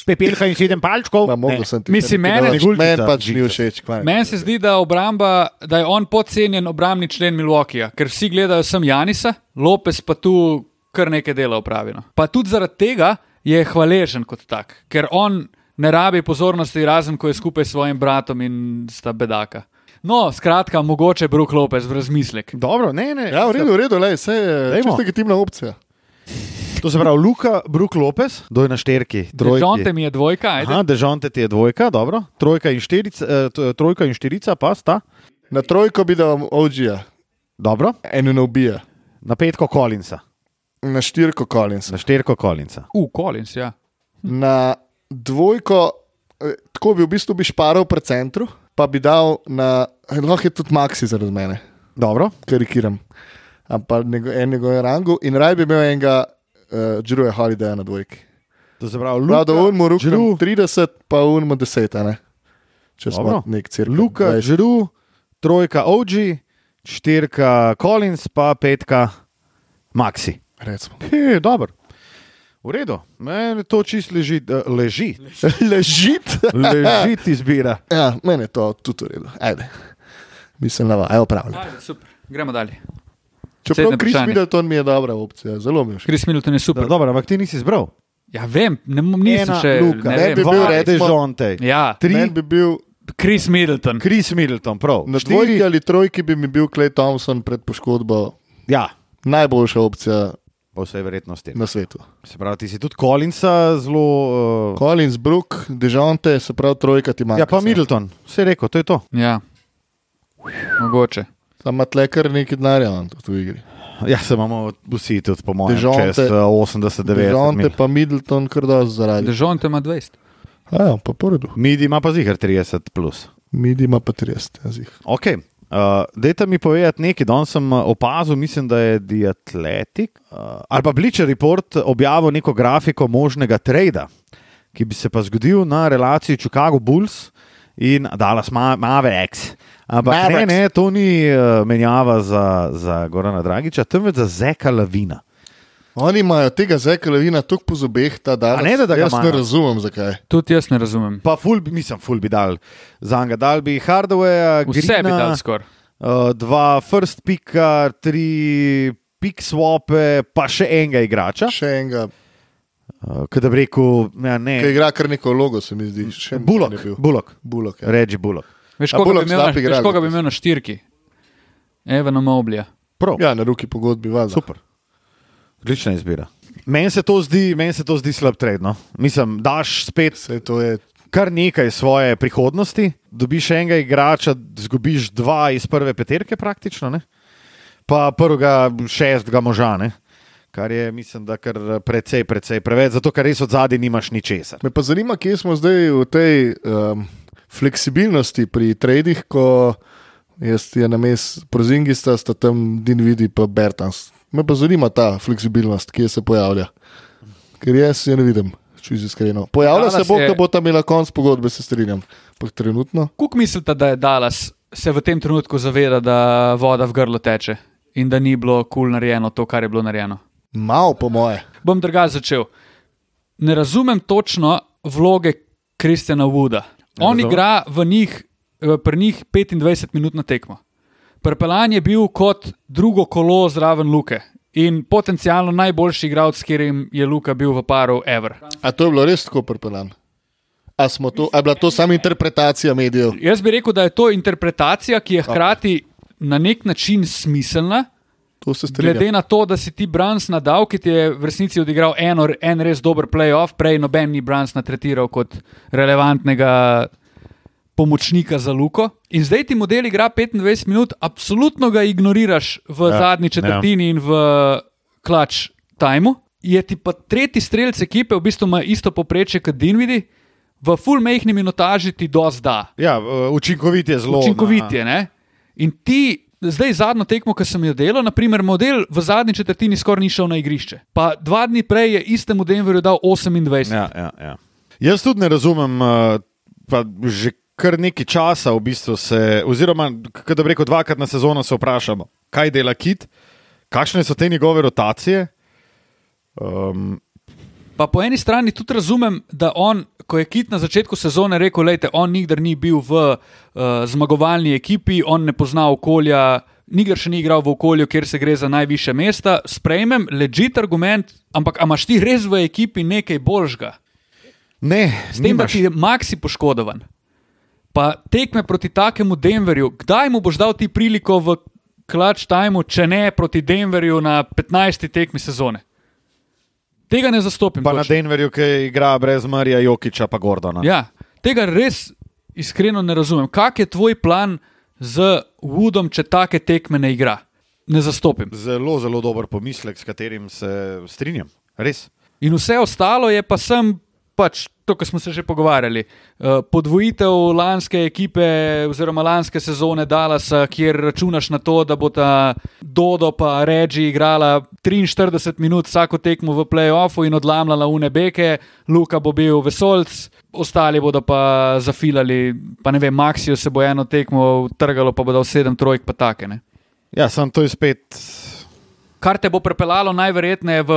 A: Pepelka in sedem palčkov.
B: Ma, mogel sem ti
C: Mislim, mene-
B: meni
A: Negulčica,
B: pač ni
A: Žica.
B: všeč. kva je.
C: Meni se zdi, da, obramba, da je on podcenjen obrambni člen Milwaukeeja, ker vsi gledajo sem Janisa, Lopes pa tu kar nekaj dela upravljeno. Pa tudi zaradi tega je hvaležen kot tak, ker on ne rabi pozornosti, razen ko je skupaj s svojim bratom in sta bedaka. No, skratka, mogoče Brook Lopes v razmislek.
A: Dobro, ne, ne.
B: Ja, v redu, v redu, le, vse je
A: Dajmo.
B: čisto legitimna opcija.
A: To se pravi, Luka, Bruk Lopes, doj na šterki.
C: Dežonte
A: Trojki.
C: mi je dvojka, ajde.
A: Aha, dežonte ti je dvojka, dobro. Trojka in štirica, eh, t- trojka in štirica pa sta.
B: Na trojko bi dal OG-ja,
A: Dobro.
B: eno ne ubija,
A: Na petko Kolinsa,
B: na štirko Collins,
A: na šterko Kolinsa.
C: U, Collins, ja.
B: na dvojko, eh, tako bi v bistvu bi šparal pri centru, pa bi dal na, eh, lahko je tudi Maxi zaradi mene,
A: Dobro.
B: karikiram, ampak nego, enega je rangu in raj bi imel enega, uh, Džuruja Holidaya na dvojki.
A: To se pravi,
B: Prav, da
A: Luka,
B: unmo rukam
A: Drew,
B: 30, pa unmo 10, a ne? Če smo
A: Dobro.
B: nek cirkus.
A: Luka, Žru, trojka OG, štirka Collins, pa petka Maxi.
B: recimo.
A: Je, dobro. V redu, meni to čist leži, eh, leži,
B: Ležit.
A: leži ti izbira.
B: Ja, meni je to tudi v redu. Ajde. Mislim, da je opravljeno.
C: Ajde, super. Gremo dalje.
B: Čeprav
C: Naslednje
B: Kris
C: vprašanje.
B: Middleton mi je dobra opcija, zelo mi je všeč.
C: Kris Middleton je super.
A: Da, dobro, ampak ti nisi izbral.
C: Ja, vem, ne, m- nisem
A: Ena,
C: še
A: Luka,
C: ne
B: ne
C: vem.
B: bi bil
A: dva,
B: recimo-
A: Dejonte,
C: Ja,
A: tri,
B: Meni bi bil
C: Kris Middleton.
A: Kris Middleton, prav.
B: na
A: Štiri-
B: dvojki ali trojki, bi mi bil Clay Thompson pred poškodbo
A: Ja,
B: najboljša opcija
A: po vsej verjetnosti.
B: na svetu.
A: Se pravi, ti si tudi Collinsa zelo. Uh,
B: Collins, Brook, Dejonte, se pravi trojka ti
A: ja,
B: manjka.
A: pa Middleton, vse je rekel, to je to.
C: Ja. Mogoče.
B: Sam ima tlekar nekaj denarja on tudi v igri.
A: Ja, se imamo vsi tudi, po mojem,
B: Dejounte-
A: čez eh, 80-90.
B: Dejonte
A: mil.
B: pa Middleton kar dosti zaradi.
C: Dežon te ima 20.
B: Ja, pa poredu.
A: Midi ima pa zihar 30. Plus.
B: Midi ima pa 30 jezik.
A: Ok, uh, dajte mi povedati nekaj. Danes sem uh, opazil, mislim, da je The Athletic uh, ali pa Bleacher Report objavil neko grafiko možnega trada, ki bi se pa zgodil na relaciji Chicago Bulls in Dallas Ma Mavericks. Ampak ne,
B: Mavericks.
A: ne, to ni uh, menjava za, za Gorana Dragiča, temveč za Zeka Lavina.
B: Oni imajo tega zekalevina toliko po zobeh, ta dan.
A: A ne, da- da ga
B: jaz ne
A: imajo.
B: razumem, zakaj.
C: Tudi jaz ne razumem.
A: Pa ful, bi- mislim, ful bi dal za njega, dal bi Hardware,
C: Vse bi dal skoraj.
A: Uh, dva first pika, tri pik swape, pa še enega igrača.
B: Še enega,
A: Uh, Kaj da bi rekel, ja,
B: ki
A: ne,
B: igra kar neko logo, se mi zdi. Še en
A: Bullock,
B: je bil.
A: Bullock,
B: Bulok. Ja.
A: reči Bullock.
C: Veš,
B: A
C: koga
B: Bullock
C: bi imel, na-
B: slab igralec.
C: veš, koga bi imel na štirki? Evana Moblija.
A: Prav, ja.
B: ja, na ruki pogodbi valjda.
A: super. Odlična izbira. Meni se to zdi, meni se to zdi slab tredno. Mislim, daš spet
B: Saj to je
A: kar nekaj svoje prihodnosti, dobiš enega igrača, zgubiš dva iz prve peterke, praktično, ne? pa prvega šestega moža, ne? kar je, mislim, da kar precej, precej preveč, zato ker res od zadaj nimaš ničesar.
B: Me pa zanima, kje smo zdaj v tej um, fleksibilnosti pri tradih, ko jaz je na mestu Prozingista, sta tam Din Vidi in Bertans. Me pa zanima ta fleksibilnost, kje se pojavlja. Ker jaz je ne vidim, če si iskreno. Pojavlja se
C: Dallas
B: bo,
C: je-
B: ko bo tam imela konc pogodbe, se strinjam. Ampak trenutno.
C: Kuk mislite, da je Dallas se v tem trenutku zaveda, da voda v grlo teče in da ni bilo kul cool narejeno to, kar je bilo narejeno?
B: Mal, po moje.
C: Bom drugače začel. Ne razumem točno vloge Kristjana Wooda. On
A: razumem.
C: igra v njih, eh, pri njih 25 minut na tekmo. Prepeljan je bil kot drugo kolo zraven Luke in potencialno najboljši igralec, s katerim je Luka bil v paru Ever.
B: A to je bilo res tako prepelano? A, smo to, a je bila to samo interpretacija medijev?
C: Jaz bi rekel, da je to interpretacija, ki je hkrati na nek način smiselna,
B: To se strinjam.
C: Glede na to, da si ti Brans nadal, ki ti je v resnici odigral en, or- en res dober playoff, prej noben ni Brans natretiral kot relevantnega pomočnika za Luko. In zdaj ti model igra 25 minut, absolutno ga ignoriraš v
A: Ja,
C: ja, zadnji četrtini ja. in v klač tajmu. Je ti pa tretji strelec ekipe, v bistvu ima isto poprečje kot Dinvidi, v full mehni minutaži ti dozda
A: Ja, eh, učinkovit je zelo.
C: učinkovit
A: na-
C: je. Ne? In ti, zdaj zadnjo tekmo, ki sem jo delal, naprimer, model v zadnji četrtini skoraj ni šel na igrišče. Pa dva dni prej je istemu Denverju dal 28.
A: Ja, ja, ja. Jaz tudi ne razumem, eh, pa že kar nekaj časa v bistvu se, oziroma, k- da bi rekel, dvakrat na sezono se vprašamo, kaj dela Kit, kakšne so te njegove rotacije. Um,
C: Pa po eni strani tudi razumem, da on, ko je Kit na začetku sezone rekel, da on nikdar ni bil v uh, zmagovalni ekipi, on ne pozna okolja. Nikdar še ni igral v okolju, kjer se gre za najviše mesta. Sprejmem legit argument, ampak a imaš ti res v ekipi nekaj boljžga?
A: ne,
C: S tem, da
A: nimaš.
C: ti je maksi poškodovan. Pa tekme proti takemu Denverju, kdaj mu boš dal ti priliko v klač tajmu, če ne proti Denverju na 15. tekmi sezone? Tega ne zastopim.
A: Pa na
C: točno.
A: Denverju, ki igra brez Marija Jokiča, pa Gordona.
C: ja, tega res iskreno ne razumem. Kak je tvoj plan z Woodom, če take tekme ne igra? Ne zastopim.
A: Zelo, zelo dober pomislek, s katerim se strinjam. Res.
C: In vse ostalo je pa sem, pač to, kar smo se že pogovarjali. Eh, Podvojitev lanske ekipe, oziroma lanske sezone Dallasa, kjer računaš na to, da bo ta Dodo pa Reči igrala 43 minut vsako tekmo v playoffu in odlamljala unebeke, Luka bo bil vesolc. Ostali bodo pa zafilali, pa ne vem, Maxijo se bo eno tekmo trgalo, pa bo dal sedem trojk, pa takene.
A: Ja, sem to je spet
C: Kar te bo pripeljalo najverjetneje v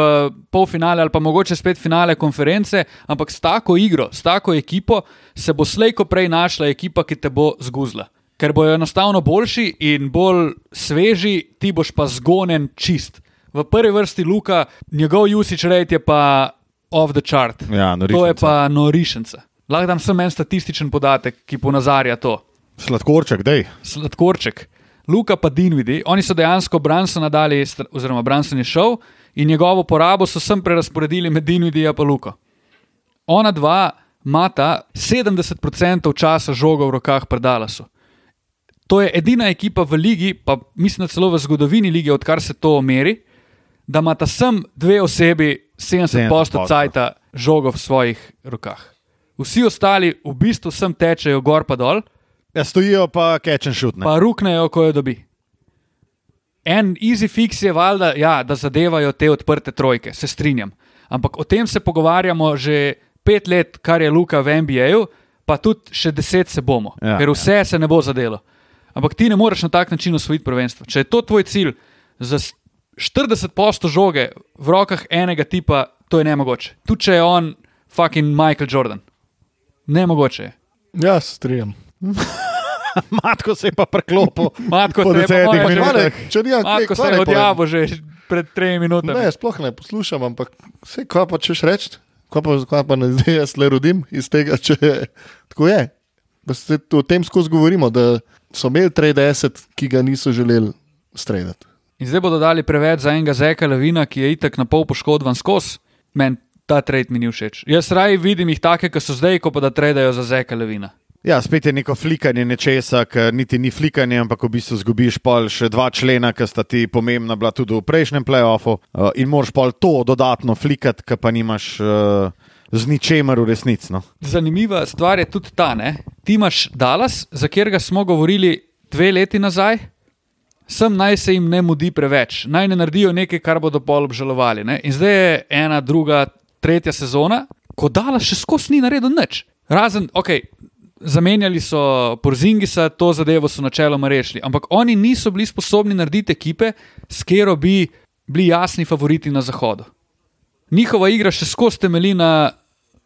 C: polfinale ali pa mogoče spet finale konference, ampak s tako igro, s tako ekipo se bo slejko prej našla ekipa, ki te bo zguzla. ker bojo enostavno boljši in bolj sveži, ti boš pa zgonen čist. V prvi vrsti Luka, njegov usage rate je pa off the chart.
A: Ja, norišnica.
C: to je pa norišnica. Lahko dam samo en statističen podatek, ki ponazarja to
A: Sladkorček, dej.
C: sladkorček. Luka pa Dinvidi, oni so dejansko Bransona dali, str- oziroma Branson je šel in njegovo porabo so sem prerasporedili med Dinvidija in Luko. Ona dva imata 70% časa žoga v rokah predala so. To je edina ekipa v ligi, pa mislim, da celo v zgodovini lige, odkar se to meri, da imata sem dve osebi 70%
A: 70%.
C: cajta žogo v svojih rokah. Vsi ostali v bistvu sem tečejo gor pa dol,
A: Ja, stojijo pa catch and shoot. Ne?
C: pa ruknejo, ko jo dobi. En easy fix je valjda, ja, da zadevajo te odprte trojke, se strinjam. Ampak o tem se pogovarjamo že pet let, kar je Luka v NBA-ju, pa tudi še deset se bomo, ja,
A: Ja,
C: ker vse ja. se ne bo zadelo. Ampak ti ne moreš na tak način osvojiti prvenstvo. Če je to tvoj cilj, za s- 40% žoge v rokah enega tipa, to je nemogoče. Tu če je on fucking Michael Jordan. Nemogoče je.
B: Ja, se strinjam.
A: Matko se je pa preklopil.
C: Matko,
A: Po
C: se je pa
A: desetih
C: moja že-
A: minutah.
B: Kvale, če ni ja,
C: Ako se je odjavil že pred tremi minutami.
B: Ne, sploh ne poslušam, ampak vse, kaj pa češ reči, kaj pa, kaj pa ne zdaj jaz le rodim iz tega, če tako je. Da Se, o tem skozi govorimo, da so imeli 30, ki ga niso želeli streljati.
C: In zdaj bodo dali preveč za enega zeka Levina, ki je itak na pol poškodovan skozi. Meni ta trade mi ni všeč. Jaz raje vidim jih take, ki so zdaj, ko pa da tradajo za zeka Levina.
A: Ja, spet je neko flikanje nečesa, ki niti ni flikanje, ampak v bistvu zgubiš pol še dva člena, ki sta ti pomembna bila tudi v prejšnjem playoffu eh, in moraš pol to dodatno flikati, ki pa nimaš eh, z ničemer v resnici. No.
C: Zanimiva stvar je tudi ta, ne? ti imaš Dallas, za katerega smo govorili dve leti nazaj. Sem naj se jim ne mudi preveč, naj ne naredijo nekaj, kar bodo pol obžalovali. Ne? In zdaj je ena, druga, tretja sezona, ko Dallas še skozi ni naredil nič. Razen, ok, zamenjali so Porzingisa, to zadevo so načeloma rešili, ampak oni niso bili sposobni narediti ekipe, s katero bi bili jasni favoriti na zahodu njihova igra še skozi temelji na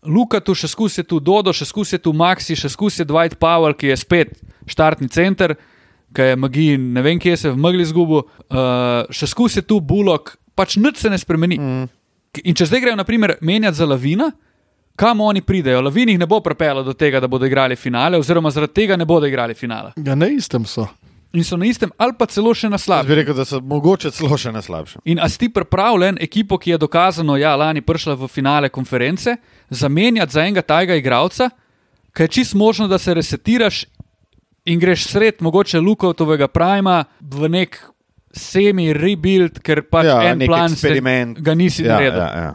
C: Lukatu, še skozi je tu Dodo, še skozi je tu Maxi, še skozi je Dwight Powell, ki je spet štartni center, ki je magij, ne vem, kje se je v megli zgubil, uh, še skozi je tu Bullock, pač nič se ne spremeni. Mm. In če zdaj grejo, na primer, menjati za Lavina, kam oni pridejo? Lavin jih ne bo pripeljal do tega, da bodo igrali finale, oziroma zaradi tega ne bodo igrali finala.
B: Ja, na istem so.
C: In so na istem, ali pa celo še na
A: Jaz
C: slabem.
A: bi rekel, da so mogoče celo še na slabšem.
C: In a si ti pripravljen ekipo, ki je dokazano, ja, lani prišla v finale konference, zamenjati za enega tajega igralca, ker je čist možno, da se resetiraš in greš sred mogoče Lukovtovega prima v nek semi-rebuild, ker pač
A: Ja,
C: en
A: nek
C: plan se-
A: eksperiment.
C: ga nisi
A: Ja,
C: naredil.
A: ja, ja.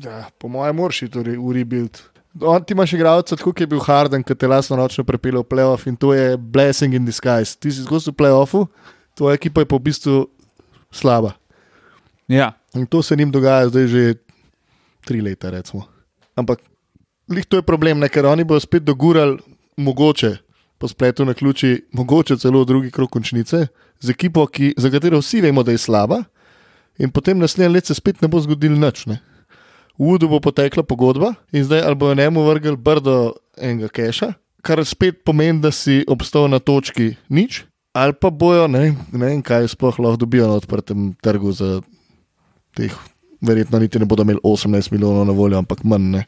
B: Ja, po mojem, moraš iti v rebuild. On ti imaš igralca, tako kot je bil Harden, ki te lasno nočno prepelje v playoff in to je blessing in disguise. Ti si zgolj v playoffu, tvoja ekipa je pa v bistvu slaba.
C: Ja.
B: In to se jim dogaja zdaj že tri leta. Recimo. Ampak lih to je problem, ne? ker oni bodo spet dogurali, mogoče po spletu na ključi, mogoče celo drugi krok končnice, z ekipo, ki, za katero vsi vemo, da je slaba. In potem naslednje leto se spet ne bo zgodil nič. Ne? V Udu bo potekla pogodba in zdaj ali bojo njemu vrgli brdo enega keša, kar spet pomeni, da si obstal na točki nič, ali pa bojo, ne, vem- ne vem, kaj sploh lahko dobijo na odprtem trgu za teh, verjetno niti ne bodo imeli 18 milijonov na voljo, ampak manj, ne?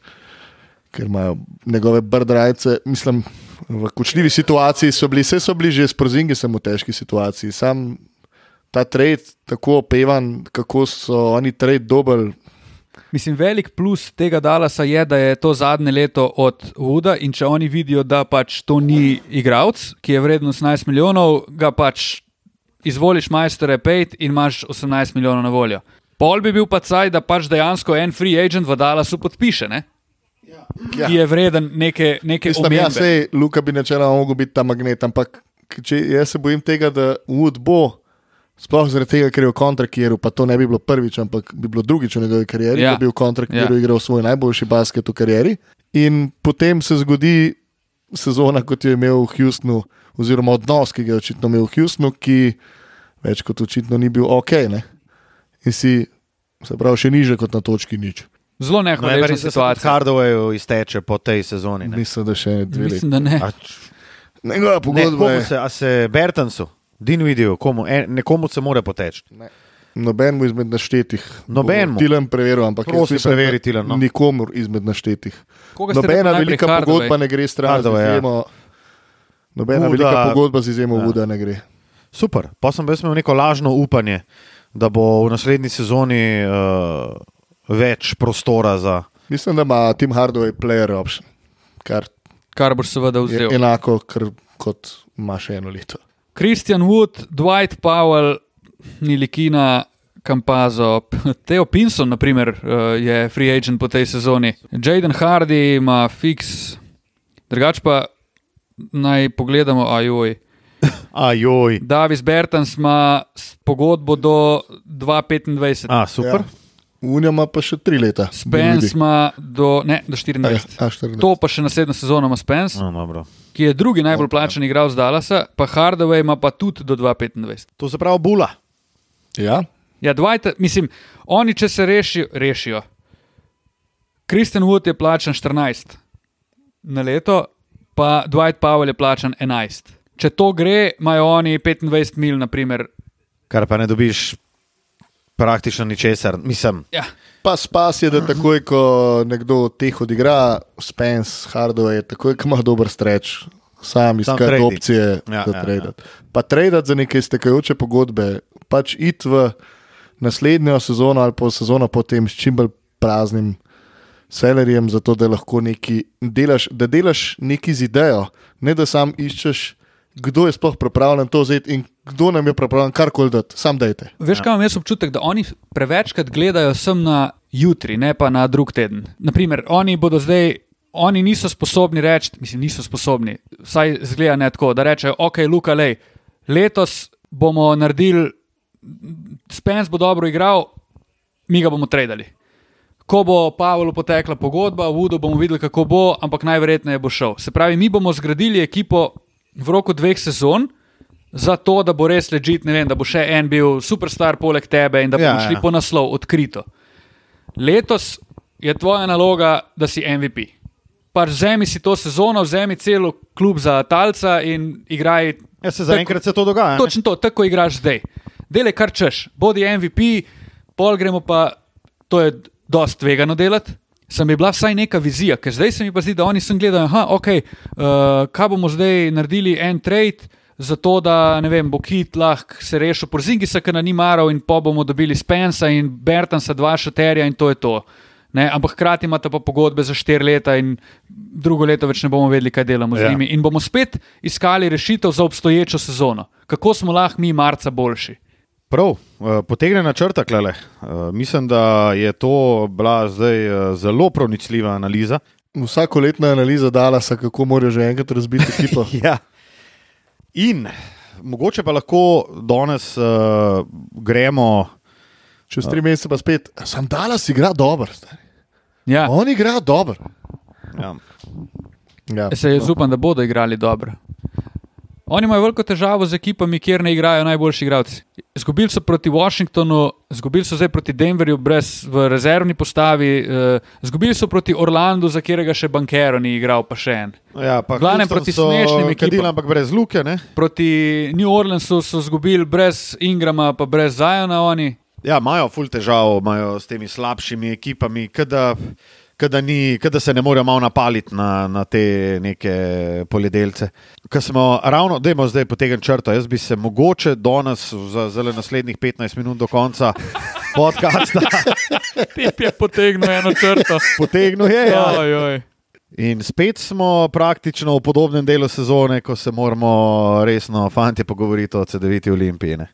B: ker imajo njegove brdrajce. Mislim, v kočljivi situaciji so bili, vse so bili že s prozingisem v težki situaciji. Sam ta trade, tako opevan, kako so oni trade dobili.
C: Mislim, velik plus tega Dalasa je, da je to zadnje leto od Vuda in če oni vidijo, da pač to ni igralec, ki je vreden 18 milijonov, ga pač izvoliš majstere pet in imaš 18 milijonov na voljo. Pol bi bil pa caj, da pač dejansko en free agent v Dalasu podpiše, ne? Ja. Ki je vreden neke, neke
B: Mislim, ja,
C: omembe.
B: sej, Luka bi načeloma mogel biti ta magnet, ampak k- če, jaz se bojim tega, da Wood bo. Sploh zaradi tega, ker je v kontrakiru, pa to ne bi bilo prvič, ampak bi bilo drugič v njegovi karieri, ja.
C: Ja.
B: da bi v kontrakiru
C: Ja.
B: ja. igral svoj najboljši basket v karieri. In potem se zgodi sezona, kot jo je imel v Houstonu, oziroma odnos, ki ga je očitno imel v Houstonu, ki več kot očitno ni bil ok. Ne? In si, se pravi, še niže kot na točki nič.
C: Zelo
A: No, je pa res, da
C: nehvaležna
A: se tudi
C: situacija.
A: Hardaway izteče po tej sezoni. Ne?
B: Mislim, da še dve leti.
C: Mislim, da ne.
A: A č-
B: Njegova
A: Ne,
B: pogodba
A: komu
B: je.
A: se, a se Bertansu, Din vidijo, komu, en, nekomu se mora poteči.
B: Nobenemu izmed naštetih.
A: Nobenemu.
B: Tilem preveril, ampak jaz
A: Prosim,
B: mislim,
A: preveri
B: da
A: Tilen, no.
B: Nikomur izmed naštetih.
C: Koga ste
B: Nobena
C: najprej
B: velika
C: Hardaway?
B: pogodba ne gre stran. z
A: Hardaway, ja.
B: izjemo- Nobena
A: Vuda-
B: velika pogodba z izjemo Vuda ne gre.
A: Super. Pa sem pa jaz imel neko lažno upanje, da bo v naslednji sezoni uh, več prostora za.
B: Mislim, da ima Tim Hardaway player option, kar
C: kar boš seveda
B: je
C: vzel.
B: enako kar, kot ima še eno leto.
C: Christian Wood, Dwight Powell, Nilikina, Campazo, Teo Pinson, naprimer, eh, je free agent po tej sezoni. Jaden Hardy ima fiks, drugač pa naj pogledamo, ajoj.
A: Ajoj.
C: Davis Bertans ima s- pogodbo do 2025,
A: A, super.
B: Ja. Unija ima pa še tri leta.
C: Spence ima do, ne, do
B: A ja,
C: 24.
B: a, 14.
C: To pa še naslednjo sezono ima Spence,
A: Ja. No, dobro.
C: ki je drugi najbolj plačen igralec Dallasa, pa Hardaway ima pa tudi do 2025.
A: to se pravi, bula.
B: Ja,
C: Ja, Dwight, mislim, oni, če se rešijo, rešijo. Kristen Wood je plačan 14 na leto, pa Dwight Powell je plačan 11. Če to gre, imajo oni 25 mil, naprimer.
A: Kar pa ne dobiš praktično ničesar. Mislim,
C: Ja,
B: pa spas je, da takoj, ko nekdo od teh odigra, Spence, Hardaway, takoj, ko ima dober streč, sam iskati
A: trading.
B: opcije,
A: Ja,
B: ja,
A: ja,
B: da
A: ja.
B: tradati. Pa tradati za neke stekajoče pogodbe, pač iti v naslednjo sezono ali pa v sezono potem s čim bolj praznim. Selerijem, zato da lahko neki delaš, da delaš neki z idejo, ne da sam iščeš, kdo je sploh pripravljen to vzeti in kdo nam je pripravljen karkoli dati, sam dajte.
C: Veš, kaj imam jaz občutek, da oni prevečkrat gledajo sem na jutri, ne pa na drug teden. Naprimer, oni bodo zdaj, oni niso sposobni reči, mislim, niso sposobni, vsaj zgleda ne tako, da rečejo, ok, Luka, lej, letos bomo naredili, Spence bo dobro igral, mi ga bomo tradali. Ko bo Pavlu potekla pogodba, v Udu bomo videli, kako bo, ampak najverjetneje bo šel. Se pravi, mi bomo zgradili ekipo v roku dveh sezon, zato da bo res ležit, ne vem, da bo še en bil superstar poleg tebe in da bomo
A: Ja,
C: ja, šli
A: ja.
C: ja. po naslov odkrito. Letos je tvoja naloga, da si MVP. Pač vzemi si to sezono, vzemi celo klub za talca in igraj.
A: ja, se
C: tako-
A: zaenkrat se to dogaja. ne?
C: Točno to, tako igraš zdaj. Dele, kar češ, bodi MVP, pol gremo pa, to je dost tvegano delati. Sem bi bila vsaj neka vizija, ker zdaj se mi pa zdi, da oni sem gledali, da okay, uh, kaj bomo zdaj naredili, en trade, zato da ne vem, bo Kit lahko se rešil porzingisa, ker ni maral in pa bomo dobili Spensa in Bertansa, dva šaterja in to je to. Ne, ampak hkrati imata pa pogodbe za štiri leta in drugo leto več ne bomo vedeli, kaj delamo
A: Ja.
C: z njimi in bomo spet iskali rešitev za obstoječo sezono. Kako smo lahko mi marca boljši?
A: Prav, eh, potegnjena črta, klele. Eh, Mislim, da je to bila zdaj eh, zelo pronicljiva analiza.
B: Vsakoletna analiza dala, kako morajo že enkrat razbiti ekipo.
A: Ja. In mogoče pa lahko danes uh, gremo.
B: Čez tri mesece pa spet, sem dala si igra dobro. stari.
C: Ja,
B: On igra dobro.
A: Ja.
B: Ja.
C: jaz se jaz upam, da bodo igrali dobro. Oni imajo veliko težavo z ekipami, kjer ne igrajo najboljši igralci. Zgubili so proti Washingtonu, zgubili so zdaj proti Denverju, brez v rezervni postavi, eh, zgubili so proti Orlandu, za katerega še Bankero ni igral, pa še en.
A: Ja, pa
C: V glavnem
A: Houston
C: proti
A: so
C: smešnim ekipam.
A: kadili, Ampak brez luke. Ne?
C: Proti New Orleansu so zgubili brez Ingrama, pa brez Zajona oni.
A: Ja, imajo ful težav imajo s temi slabšimi ekipami, kada, kada, ni, kada se ne morejo malo napaliti na, na te neke poljedelce. Ko smo ravno, da imamo zdaj potegnjen črto, jaz bi se mogoče danes, za zelo naslednjih 15 minut do konca podcasta,
C: Tip je potegnil eno črto.
A: potegnil je. Ja.
C: Oj, oj.
A: In spet smo praktično v podobnem delu sezone, ko se moramo resno, fanti, pogovoriti o CD-viti Olimpiji. ne.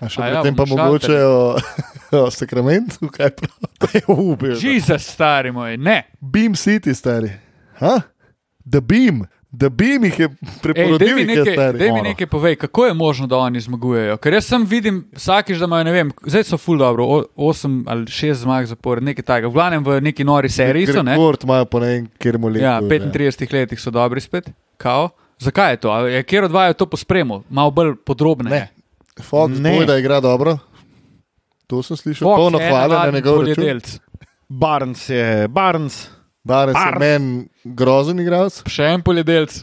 B: A Še
C: A ja,
B: potem pa
C: bomo
B: mogoče o, o Sakramentu, kaj pravi.
A: U, bil sem.
C: Jezus, stari moj, ne.
B: Beam City, stari. Ha? The Beam, The Beam jih je
C: Ej, Dej
B: preporodil,
C: mi
B: jih je
C: nekaj,
B: stari.
C: dej mi nekaj povej, kako je možno, da oni zmagujejo. Ker jaz sem videl vsakič, da imajo, ne vem, zdaj so full dobro, 8 ali 6 zmag zapored, nekaj takega. V glavnem v neki nori seriji so, ne?
B: Rekord imajo po ne vem, kjer mu leži.
C: Ja, v 35 letih so dobri spet, kao. Zakaj je to? A Je kjer odvajo to po spremu, malo bolj podrobno.
B: Ne. Fox
A: Ne.
B: ne. da igra dobro. To sem slišal,
C: Fox,
B: polno
C: en
B: hvale na
C: navaden
B: njegov račun.
C: poljedelc.
A: Barnes je, Barnes.
B: Danes je
A: Barnes.
B: meni grozen igralec.
C: Še en poljedelc.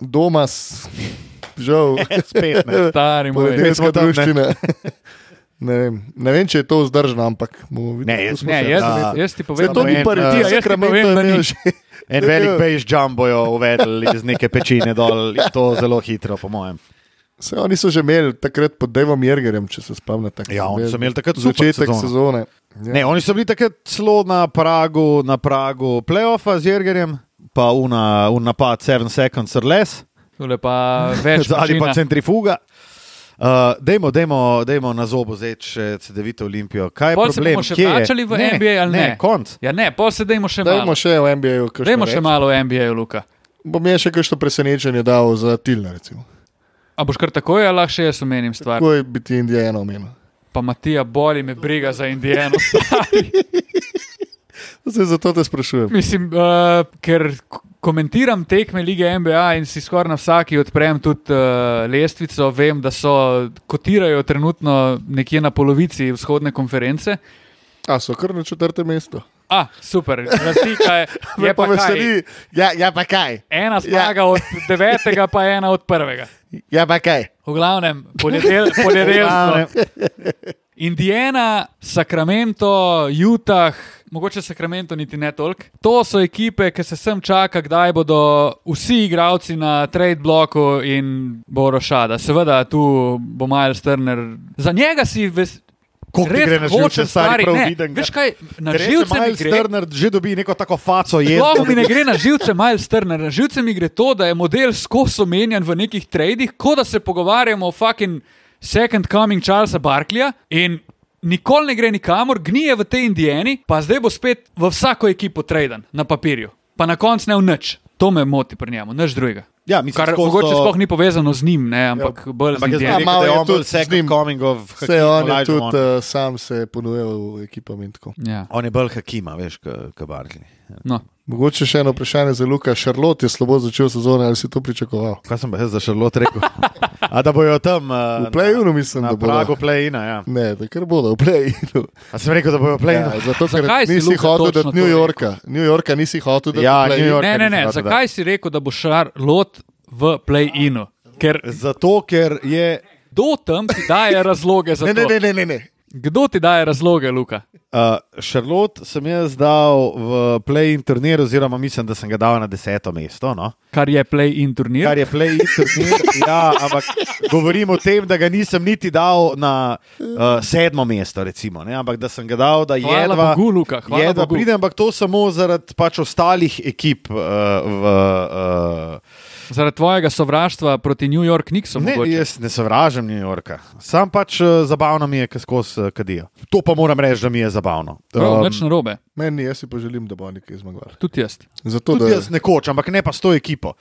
B: doma, s- žal,
A: Spet ne.
C: Stari moj.
B: poledenska
A: smo tam, ne.
B: druščina. Ne vem. ne vem, če je to vzdržno, ampak bomo videli.
A: Ne, jaz-
C: Ne, jaz,
A: Da.
C: jaz ti povem, Ja,
B: Vse to
A: Samo
B: ni
A: en,
B: prvi,
A: eh,
B: ti
C: jaz ti povem, da ni.
A: En velik bež jumbojo uvedli iz neke pečine dol, in to zelo hitro, po mojem.
B: Vse oni so že imeli takrat pod Devom Jergerjem, če se spomnite.
A: Ja, oni so imeli takrat super
B: začetek
A: sezono.
B: sezone. Ja.
A: Ne, oni so bili takrat celo na pragu, na pragu playoffa z Jergerjem, pa una, un napad 7 seconds or less,
C: Tole pa več.
A: ali pa
C: mašina.
A: centrifuga. Uh, dejmo, dejmo, dejmo na zobu zdaj, če CDVite Olimpijo. Kaj je
C: Pol se
A: problem?
C: bomo še
A: Kje je?
C: vračali v
A: ne,
C: NBA ali ne?
A: Ne, konc.
C: Ja, ne, pa se dajmo še
B: Dajmo
C: malo.
B: še v NBA-ju.
C: Dajmo še malo v NBA, Luka.
B: Bom jaz še kakšno presenečenje dal za Tilna. recimo.
C: A boš kar takoj, ali lahko še jaz omenim stvar?
B: Tako je biti Indijano omenil.
C: Pa Matija boli me briga za Indijano.
B: Zdaj zato te sprašujem.
C: Mislim, uh, ker k- komentiram tekme lige NBA in si skoraj na vsaki odprem tudi uh, lestvico, vem, da so kotirajo trenutno nekje na polovici vzhodne konference.
B: A so kar na četrtem mestu?
C: A, super, razlika je, je
B: Me
C: pa veseli.
B: veseli. Ja, ja, pa kaj.
C: Ena zmaga od devetega, pa ena od prvega.
B: Ja, pa kaj.
C: V glavnem, poljedel, poljedelstvo. Indiana, Sacramento, Utah, mogoče Sacramento niti ne toliko. To so ekipe, ki se sem čaka, kdaj bodo vsi igravci na trade bloku in bo rošada. Seveda, tu bo Miles Turner. Za njega si ves.
A: Koliko ti
C: res
A: gre na živce,
C: hočem,
A: stari,
C: stari,
A: prav
C: ne.
A: vidim ga.
C: Veš kaj, na živce mi
A: Miles
C: gre.
A: Turner že dobi neko tako faco, je
C: Sploh mi ne gre na živce Miles Turner, na živce mi gre to, da je model skozi omenjen v nekih tradih, kot da se pogovarjamo o fucking second coming Charlesa Barkleyja in nikoli ne gre nikamor, gnije v tej Indijani, pa zdaj bo spet v vsako ekipo traden na papirju, pa na koncu ne v nič. To me moti pri njemu, nič drugega.
A: Ja, mislim,
C: Kar
A: skozi
C: mogoče
A: to-
C: sploh ni povezano z njim, ne, ampak ja, bolj z
A: Ampak jaz bi
C: Indijano.
A: rekel, da
B: malo
A: je
B: je
A: on
B: tudi
A: bolj
B: z
A: second
B: njim.
A: coming of
B: Vse
A: Hakeem
B: on je tudi eh,
A: Olajuwon.
B: uh, sam se ponujal v ekipam in tako.
C: Ja.
A: On je bolj Hakima, veš, kot Barkley.
C: No.
B: Mogoče še eno vprašanje za Luka. Šarlot je slabo začel sezono, ali si to pričakoval?
A: Kaj sem pa jaz za Šarlot rekel? A da bojo tam. Uh,
B: V play-inu mislim,
A: na
B: da
A: na
B: bo.
A: pragu play-ina. Ja.
B: Ne, da kar bodo v play-inu.
A: A sem rekel, da bojo
B: Ja,
A: play-ina.
B: zato, ker
C: Zakaj si,
B: nisi
C: Luka,
B: hotel
C: točno
B: dati
C: to
B: New
C: rekel?
B: Yorka. New Yorka nisi hotel dati
A: Ja,
B: v play-in.
A: New York.
C: Ne, ne, ne,
A: Rad, da.
C: zakaj si rekel, da bo Šarlot v play-inu? Ker
A: Zato, ker je.
C: kdo tam ti daje razloge za
B: Ne,
C: to?
B: ne, ne, ne, ne, ne.
C: Kdo ti daje razloge, Luka?
A: Šarlot uh, sem jaz dal v play-in turnir, oziroma mislim, da sem ga dal na deseto mesto. No?
C: Kar je play-in turnir?
A: Kar je play-in turnir. ja, ampak govorim o tem, da ga nisem niti dal na uh, sedmo mesto, recimo, ne? ampak da sem ga dal, da
C: Hvala
A: jedva,
C: Bogu, Luka, hvala
A: jedva
C: Bogu.
A: pride, ampak to samo zaradi pač ostalih ekip. Uh, v, uh,
C: Zaradi tvojega sovraštva proti New York Knicksom.
A: Ne,
C: mogoče.
A: jaz ne sovražim New Yorka, sam pač uh, zabavno mi je, ki skozi uh, kadijo. To pa moram reči, da mi je zabavno.
C: Prav,
A: Um,
C: nič narobe,
B: Meni jaz si pa želim, da bo nekaj zmagal.
C: tudi jaz.
B: Zato, da
A: tudi
B: je
A: jaz nekoč, ampak ne pa s to ekipo,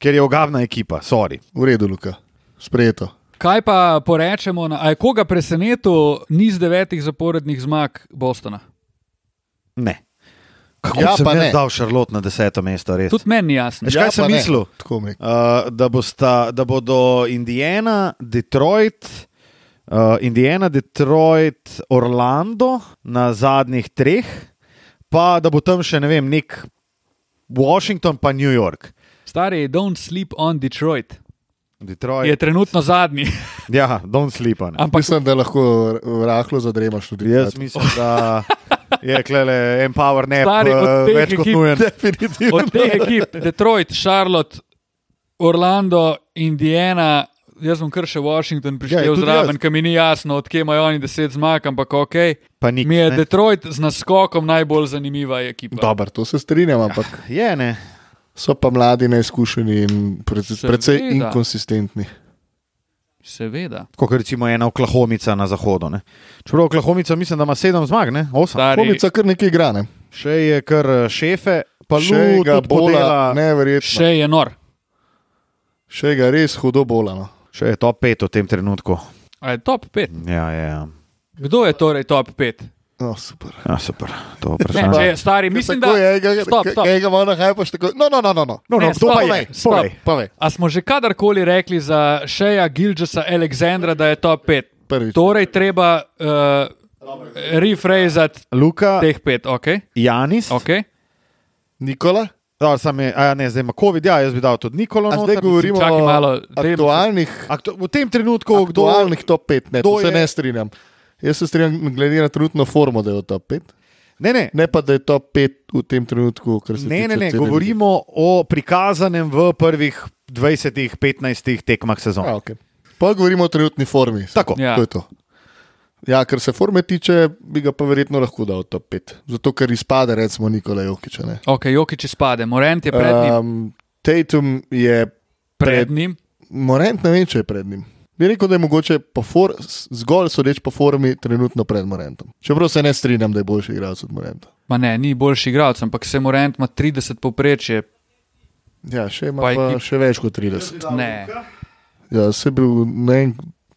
A: ker je ogavna ekipa, sorry.
B: v redu, Luka, sprejeto.
C: Kaj pa porečemo, na, a je koga presenetil niz devetih zaporednih zmag Bostona?
A: Ne. Kako
B: Ja,
A: ja, sem
B: pa
A: jaz
B: ne. Ja,
A: ne. dal Šarlot na deseto mesto, res.
C: Tudi meni ni jasno.
A: Veš kaj sem
B: pa ne.
A: mislil?
B: Tako mi.
A: Uh, da, bosta, da bodo Indiana, Detroit, uh, Indiana, Detroit, Orlando na zadnjih treh, pa da bo tam še ne vem, nek Washington, pa New York.
C: Ja, Stari, don't sleep on Detroit.
A: Detroit.
C: Je trenutno zadnji,
A: Ja, don't sleep on. it.
C: ampak
B: Mislim, da lahko r- rahlo zadremaš tudi.
A: Jaz mislim, da je klele Empower ne
C: Stari, od teh
A: uh, več kot
C: ekip-
A: nujen.
B: definitivno.
C: od teh ekip, Detroit, Charlotte, Orlando, Indiana, jaz bom kar še Washington
A: Ja,
C: prišel
A: tudi
C: zraven,
A: jaz.
C: ki mi ni jasno, odkje imajo oni deset zmag, ampak ok.
A: Pa nič,
C: mi je
A: ne.
C: Detroit z naskokom najbolj zanimiva ekipa.
B: Dobar, to se strinjam, ampak
A: Je, ne.
B: so pa mladi neizkušeni in precej,
C: Seveda.
B: precej inkonsistentni.
C: Seveda.
A: Kot recimo ena oklahomica na zahodu. Ne. Čeprav oklahomica mislim, da ima sedem zmag, ne? Osem.
C: Stari,
B: Komica kar nekaj igrane.
A: Še je kar eh, šefe, pa
B: Še
A: Luka
B: ga bola,
A: Ne.
B: neverjetno. Še,
C: še je nor.
B: še ga res hudo no. bolano.
A: Še je top 5 v tem trenutku.
C: A je top 5.
A: Ja, ja, ja.
C: Kdo je torej top 5?
B: No, super.
A: ja super. To je
C: Ne, če
A: vprašanje.
C: je stari, mislim, da
B: Ja, tako je, ga,
C: Stop,
B: ga,
C: stop.
B: ga, ga malo hajpaš tako. No, no, no, no. no.
A: No, no,
C: Ne,
A: to pa
C: stop,
A: je.
C: stop.
A: Povej.
B: Povej.
C: A smo že kadarkoli rekli za Šeja Gilžasa Aleksandra, da je top 5?
B: Prvič.
C: Torej, treba uh, refrazati
A: Luka,
C: teh pet, ok?
A: Janis,
C: okay.
B: Nikola,
A: Dobro, sam je, a ja, ne, zdaj ima COVID, ja, jaz bi dal tudi Nikolo.
B: A
A: noter.
B: zdaj govorimo
C: čakaj
B: o
C: malo, dajmo se-
B: aktualnih,
A: Aktu, v tem trenutku, kdo
B: aktualnih top 5, ne,
A: kdo
B: to se
A: je-
B: ne strinjam. Jaz se strinjam, glede na trenutno formo, da je v top 5,
A: Ne, ne,
B: ne pa da je top 5 v tem trenutku, kar se
A: ne,
B: tiče
A: ne, ne
B: cele lige.
A: govorimo o prikazanem v prvih 20-15 tekmah sezone.
B: A, okay. Pa govorimo o trenutni formi.
A: No. Tako.
C: Ja.
B: To je to. Ja, kar se forme tiče, bi ga pa verjetno lahko dal v top 5. Zato, ker izpade, recimo, Nikola Jokiča. ne.
C: Ok, Jokič izpade, Morent je pred njim. Uh,
B: Um, Tatum je
C: pred njim.
B: Morent ne vem, če je pred njim. Bi rekel, da je mogoče po for, s- zgolj sodeč po formi trenutno pred Morentom. Čeprav se ne strinjam, da je boljši igralec od Morenta.
C: Ma ne, ni boljši igralec, ampak se Morent ima 30 poprečje.
B: Ja, še ima
C: Pa
B: pa
C: ekip-
B: še več kot 30.
C: Ne.
B: Ja, se bil ne vem,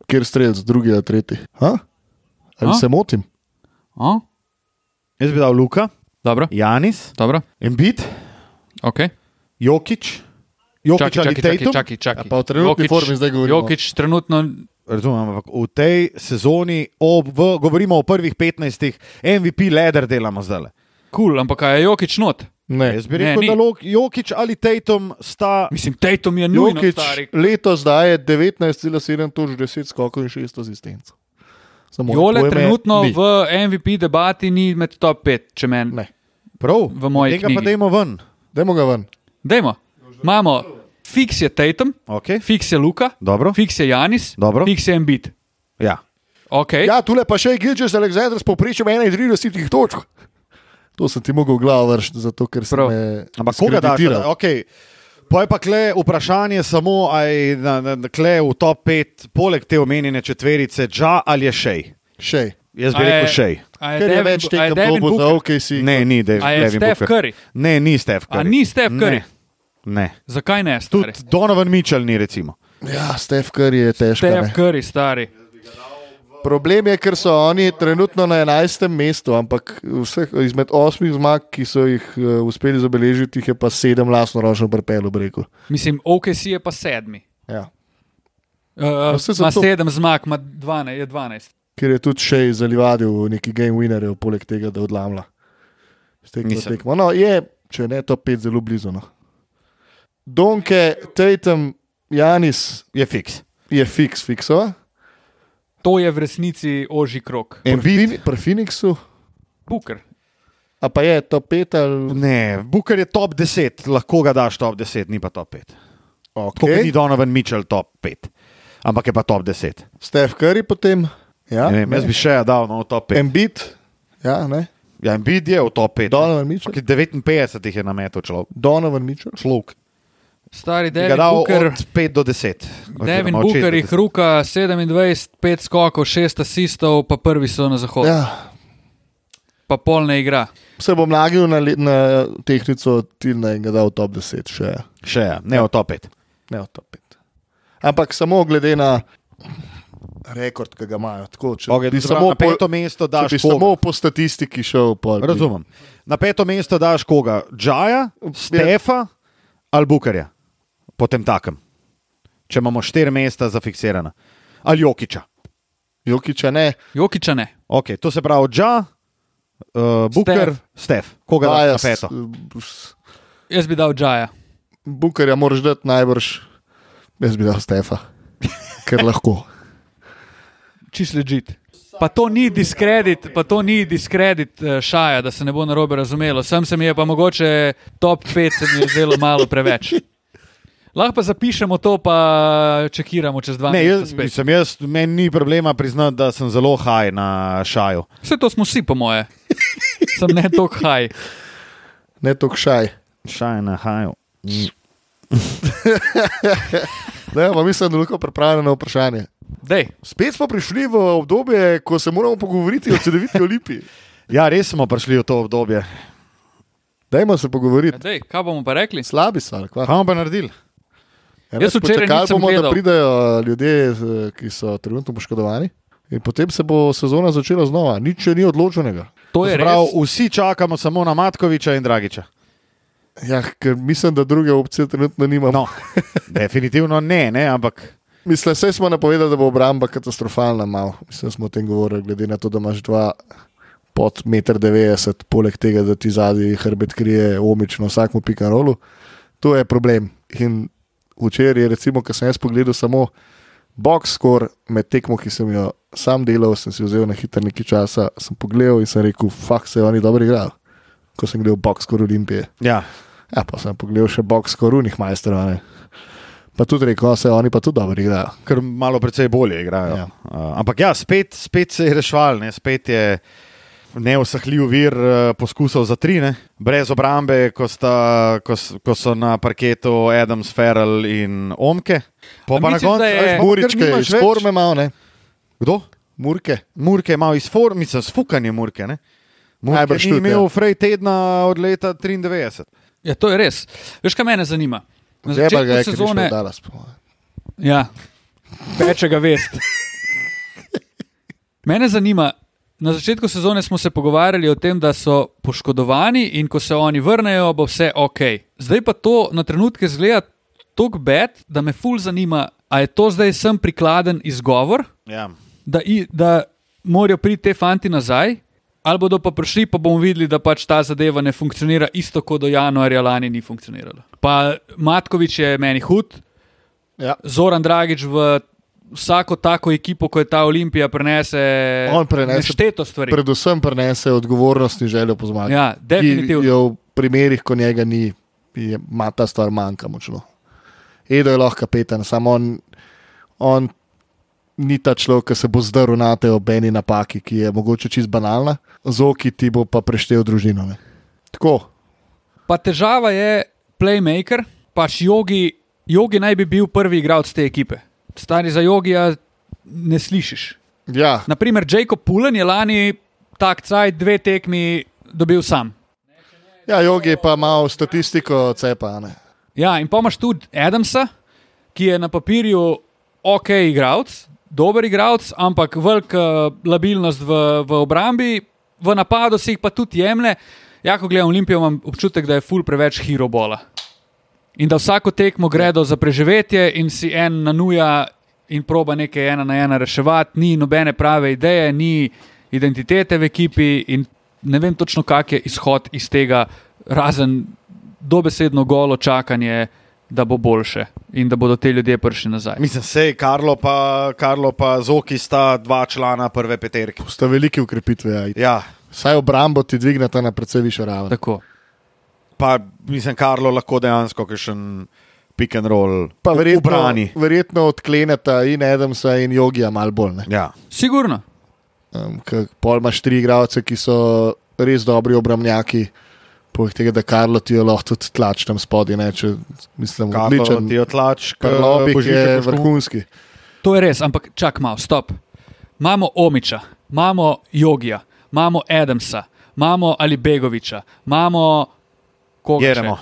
B: kjer strelec, drugi ali tretji. Ha? Ali
C: A?
B: ha? se motim?
C: O?
A: Jaz bi dal Luka,
C: Dobro,
A: Ja. Janis,
C: dobro,
A: Embit,
C: ok.
A: Jokič, Jokič
C: Čakaj,
A: ali
C: čakaj, čakaj,
A: Tatum.
C: čakaj, čakaj.
B: Ja, pa v trenutni formi zdaj govorimo.
C: Jokič trenutno
A: Razumem, ampak v tej sezoni ob, v, govorimo o prvih 15 MVP leder delamo zdaj.
C: kul, cool, ampak a je Jokič not.
B: Ne.
A: Jaz bi
C: Ne,
A: rekel,
C: ni.
A: ne, da Lok- Jokič ali Tatum sta
C: Mislim, Tatum je nujno
B: Jokič
C: stari.
B: letos daje 19,7 točk, 10 skokov in 6 asistenc. Samo
C: Jole trenutno ni. v MVP debati ni med top 5, če meni.
B: Ne.
A: prav.
C: V moji
A: Tega pa
C: knjigi.
A: dajmo ven.
B: Dajmo ga ven.
C: Dajmo, imamo, fiks je Tatum,
A: Okay.
C: fiks je Luka,
A: Dobro.
C: fiks je Janis,
A: Dobro.
C: fiks je Embiid.
A: Ja.
C: Okay.
B: Ja, tule pa še je Gilčes Aleksandr s poprečjem 31 točk. To sem ti mogel v glavo vršiti, zato ker sem
C: Prav.
B: me.
A: Ampak koga daš?
B: diskreditiral.
A: Okay. Pa je pa kle vprašanje samo, ali je na- na- na- kle v top 5, poleg te omenjene četverice, Dža ali je šej.
B: Še.
A: Jaz bi
C: A je-
A: rekel šej.
C: a je
B: Ker je
C: Devin-
B: več
C: a
B: tega
C: je Devin
B: dobo za
C: Booker?
B: OKC.
A: Ne, ni Dev-
C: A je
A: Devin
C: Steph
A: Booker.
C: Curry?
A: Ne, ni Steph Curry.
C: A ni Steph Curry?
A: Ne. ne.
C: Zakaj ne?
A: Tudi
C: Stari?
A: Donovan Mitchell ni recimo.
B: Ja, Stef Curry je težko.
C: Steph
B: ne.
C: Curry, stari.
B: Problem je, ker so oni trenutno na 11. mestu, ampak vseh, izmed osmih zmag, ki so jih uh, uspeli zabeležiti, jih je pa sedem lastno ročno prepelo, bi rekel.
C: Mislim, OKC je pa sedmi.
B: Ja.
C: Uh,
B: saj
C: ima
B: zato-
C: sedem zmag, ima 12, je 12.
B: Ker je tudi še zalivadil neki game winnerjev, poleg tega, da odlamlja. S tekmo
A: Nisem.
B: tekmo. No, je, če ne, to pet zelo blizu. No. Donke, Tatum, Janis
A: Je fiks.
B: je fiks, fiksova.
C: To je v resnici oži krok.
B: Pri,
A: Embiid?
B: Fin- pri Phoenixu,
C: Booker.
B: a pa je to pet ali
A: Ne, Booker je top 10, lahko ga daš top 10, ni pa top 5. Tako okay. ni
B: okay.
A: Donovan Mitchell top 5, ampak je pa top 10.
B: Stef Curry potem. Ja,
A: Ne vem, jaz bi še dal no, v top 5.
B: Embiid, ja, ne.
A: Ja, Embiid je v top 5.
B: Donovan Mitchell.
A: Ampak 59 jih je na metu človek.
B: Donovan Mitchell.
A: Človek.
C: Stari
A: Bi Ga
C: Devin
A: dal
C: Booker.
A: od 5 do 10. oziroma
C: Devin
A: od šest
C: Booker
A: do
C: jih
A: 10.
C: ruka 27, 5 skokov, 6 asistov, pa prvi so na zahodu. Ja.
B: Ja.
C: Pa pol ne igra.
B: Se bom nagnil na, le- na tehnico Tilna in ga dal v top 10 še.
A: Še, ja, ne v top 5.
B: Ne, v top 5. Ampak samo glede na rekord, ki ga imajo. Tako, če
A: Okay,
B: bi
A: na
B: samo, po,
A: peto mesto
B: če
A: daš
B: bi
A: koga.
B: samo po statistiki šel, pa
A: Razumem. Na peto mesto daš koga? Džaja,
C: ja.
A: Stefa ali Bukarja, potem takem. Če imamo štiri mesta zafiksirana. Ali Jokiča.
B: Jokiča ne,
C: Jokiča ne.
A: Okay, to se pravi, Dža, uh, Buker, Stef. Koga daš
B: Daja
A: na
B: s-
A: peto?
B: s-
C: Jaz bi dal Džaja.
B: Bukarja moraš dati najbrž, jaz bi dal Stefa, ker lahko.
C: Čist ležit. Pa to ni diskredit, pa to ni diskredit eh, šaja, da se ne bo narobe razumelo. Sam se mi je pa mogoče top 5 se mi je zdelo malo preveč. Lahko pa zapišemo to, pa čekiramo čez dva
A: Ne,
C: meseca
A: jaz,
C: spet.
A: mislim, jaz, meni ni problema priznati, da sem zelo haj na šaju.
C: Vse to smo vsi, po moje. Sem ne tok haj.
B: Ne tok šaj.
A: Šaj na haju.
B: Ne, pa mislim, da je lahko pripravljeno na vprašanje.
C: Dej,
B: Spet smo prišli v obdobje, ko se moramo pogovoriti o CD-vitki Olimpiji.
A: Ja, res smo prišli v to obdobje.
B: Dajmo se pogovoriti.
C: dej, Ja, kaj bomo pa rekli?
B: Slabi so, ali kva?
A: Kaj bomo pa naredili?
B: Ja,
C: Jaz
B: res,
C: včeraj
B: počakali
C: nisem
B: bomo, da
C: gledal.
B: pridejo eh, ljudje, z- ki so trenutno poškodovani. In potem se bo sezona začela znova, nič še ni odločenega.
C: To je
A: Prav,
C: res.
A: vsi čakamo samo na Matkoviča in Dragiča.
B: Ja, ker mislim, da druge opcije trenutno nimamo.
A: No, definitivno ne, ne ampak
B: Mislim, vse smo napovedali, da bo obramba katastrofalna, malo. Mislim, da smo o tem govorili, glede na to, da imaš dva pod 1,90 m, poleg tega, da ti zadnji hrbet krije omično vsakmu pikarolu. To je problem. In včeraj je, recimo, ko sem jaz pogledal samo box score med tekmo, ki sem jo sam delal, sem si vzel na hitro nekaj časa, sem pogledal in sem rekel, fuk se oni dobro igrajo. Ko sem gledal box score Olimpije.
A: Ja,
B: Ja, pa sem pogledal še box score unih majstrov. a ne. Pa tudi rekel, no, se oni pa tudi dobro igrajo.
A: ker malo precej bolje igrajo. Ja.
B: Ja.
A: Uh, ampak ja, spet, spet se je rešval, ne? spet je neusahljiv vir uh, poskusov za tri, ne? brez obrambe, ko, sta, ko, s- ko so na parketu Adams, Ferrell in Omke. Po
C: A
A: pa na
C: misliš,
A: koncu
C: da je-
A: veš, pa
B: Muričke
A: ker nimaš
B: iz
A: več-
B: forme imamo, ne?
A: Kdo?
B: Murke.
A: Murke je imel iz forme, mislim, sfukanje Murke. Ne? Murke
B: Najbrž
A: je
B: tudi,
A: imel
B: ja.
A: frej tedna od leta 93.
C: Ja, to je res. Veš, kaj mene zanima? Na
B: Žebel ga je,
C: začetku
B: ker je šel
C: sezone
B: v Dallas. po moje.
C: Ja, peče ga vest. Mene zanima, na začetku sezone smo se pogovarjali o tem, da so poškodovani in ko se oni vrnejo, bo vse ok. Zdaj pa to na trenutke zgleda tako bed, da me ful zanima, ali je to zdaj sem prikladen izgovor,
A: Ja.
C: da, i, da morajo priti te fanti nazaj. Ali bodo pa prišli, pa bomo videli, da pač ta zadeva ne funkcionira isto kot do januarja lani ni funkcionirala. Pa Matkovič je meni hud,
B: Ja.
C: Zoran Dragič v vsako tako ekipo, ko je ta Olimpija, prenese,
B: On prenese
C: nešteto stvari. Pred...
B: Predvsem prenese odgovornost in željo po zmagi.
C: Ja, definitivno.
B: Ki Jo v primerih, ko njega ni, je, ima ta stvar manjka močno. Edo je lahko kapetan, samo on, on ni ta človek, ki se bo zdrl na te obeni napaki, ki je mogoče čist banalna, zoki ti bo pa preštel družino. Ne? Tako,
C: Pa težava je playmaker, pač jogi, jogi naj bi bil prvi igralec te ekipe. Stari za jogija ne slišiš.
B: ja,
C: Naprimer, Jacob Pulen je lani tak caj dve tekmi dobil sam.
B: ja jogi pa ima statistiko cepa. a Ne?
C: Ja, in pa imaš tudi Adamsa, ki je na papirju ok, igralec, dober igralec, ampak velika labilnost v, v obrambi, v napadu si jih pa tudi jemlje. Ja, ko gledam Olimpijo, imam občutek, da je ful preveč hirobola. In da vsako tekmo gredo za preživetje, in si en nanuja in proba nekaj ena na ena reševati, ni nobene prave ideje, ni identitete v ekipi, in ne vem točno, kak je izhod iz tega, razen dobesedno golo čakanje, da bo boljše in da bodo te ljudje prišli nazaj.
A: Mislim, sej Karlo pa, Karlo pa Zoki sta dva člana prve peterke.
B: Sta velike ukrepitve. Ja.
A: Ja,
B: Vsaj obrambo ti dvignata na precej višjo raven.
C: Tako.
A: pa mislim, Karlo lahko dejansko kakšen pick and roll
B: Pa verjetno,
A: ubrani.
B: verjetno odkleneta in Adamsa in Jogija malo bolj. ne.
A: Ja.
C: Sigurno.
B: Um, ke Pol imaš tri igralce, ki so res dobri obramljaki. Poleg tega, da Karlo ti jo lahko tudi tlač tam spodaj, ne, če mislim,
A: Karlo
B: odličen.
A: ti eh, otlač,
B: Karlobik je
A: Božiček vrhun.
B: vrhunski.
C: To je res, ampak čak malo, stop. Imamo Omiča, imamo Jogija, imamo Adamsa, imamo Alibegoviča, imamo koga. še?
A: Jeremo.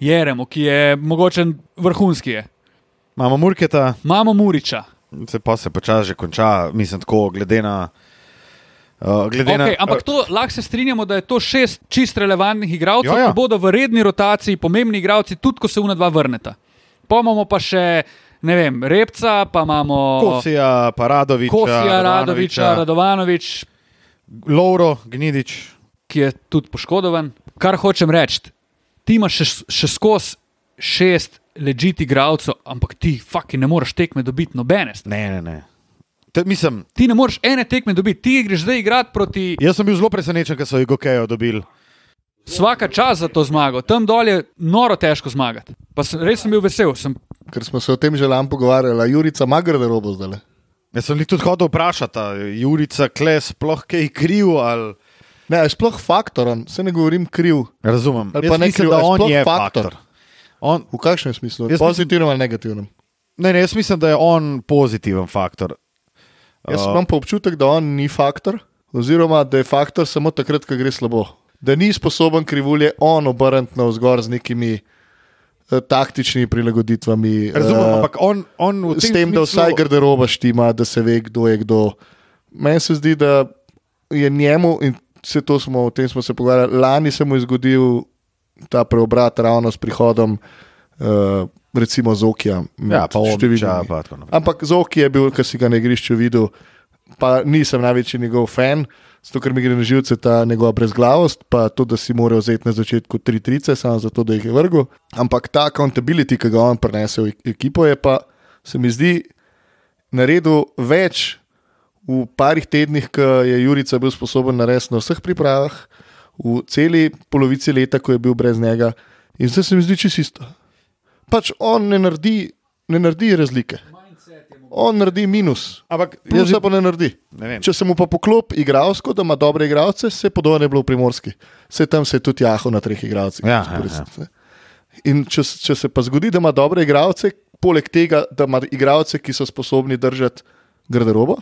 C: Jeremo, ki je mogoče vrhunski. Je.
A: Imamo Murketa,
C: Imamo Muriča.
A: se pa se počasi že konča, mislim, tako glede na. Uh, glede
C: Okay,
A: na
C: ampak to lahko se strinjamo, da je to šest čist relevantnih igralcev,
A: Ja, ja.
C: ki bodo v redni rotaciji pomembni igralci, tudi ko se unadva vrneta. Pa imamo pa še, ne vem, Repca, pa imamo
A: Kosija, Paradovič,
C: Kosija, Radoviča, Radovanovič,
A: Lauro, Gnidič.
C: ki je tudi poškodovan. Kar hočem reči, ti imaš še, še skozi šest ležiti igralcev, ampak ti fucking ne moreš tekme dobiti nobene.
A: Ne, ne, ne. Te, mislim,
C: Ti ne moreš ene tekme dobiti, ti greš zdaj igrati proti
A: jaz sem bil zelo presenečen, ker so jih Gokejo dobili.
C: vsaka čas za to zmago. Tam dol je noro težko zmagati. Pa sem, res sem bil vesel. Sem,
B: Ker smo se o tem že lani pogovarjali, a Jurica ima garderobo zdaj.
A: Jaz sem jih tudi hodil vprašati, a je Jurica Kles sploh kaj kriv ali.
B: Ne, a je sploh faktoren, se ne govorim kriv.
A: Razumem.
B: Ali pa
A: Jaz
B: ne
A: mislim,
B: kriv,
A: da
B: ali
A: on
B: sploh
A: je
B: faktor?
A: faktor. On,
B: V kakšnem smislu?
A: Jaz mislim-
B: Pozitivno ali negativno?
A: ne, ne, jaz mislim, da je on pozitiven faktor.
B: Jaz imam pa občutek, da on ni faktor, oziroma da je faktor samo takrat, ko gre slabo. Da ni sposoben krivulje on obrniti na vzgor z nekimi eh, taktičnimi prilagoditvami. eh,
A: Razumem, ampak on, on v
B: S
A: tem
B: tem, da
A: smislu-
B: vsaj garderoba štima, da se ve, kdo je kdo. Meni se zdi, da je njemu, in vse to smo, o tem smo se pogovarjali, lani se mu je zgodil ta preobrat ravno s prihodom, uh, recimo Zokija. med
A: Ja, pa Omiča,
B: številnimi.
A: pa tako no. naprej.
B: Ampak Zoki je bil, ki si ga na igrišču videl, pa nisem največji njegov fan, zato ker mi gre na živce ta njegova brezglavost, pa to, da si moral vzeti na začetku tri trice, samo zato, da jih je vrgel. Ampak ta accountability, ki ga on prenese v ek- ekipo, je pa, se mi zdi, naredil več v parih tednih, ko je Jurica bil sposoben narediti na vseh pripravah, v celi polovici leta, ko je bil brez njega. In zdaj se mi zdi čisto isto. Pač on ne naredi, ne naredi razlike. On naredi minus,
A: Ampak
B: plus
A: jaz
B: pa ne naredi.
A: ne vem.
B: Če se mu pa poklop igralsko, da ima dobre igralce, se podobno je bilo v Primorski. Se tam se je tudi jahal na treh igralcih.
A: Ja, ja,
B: ja. In če, s- če se pa zgodi, da ima dobre igralce, poleg tega, da ima igralce, ki so sposobni držati garderobo,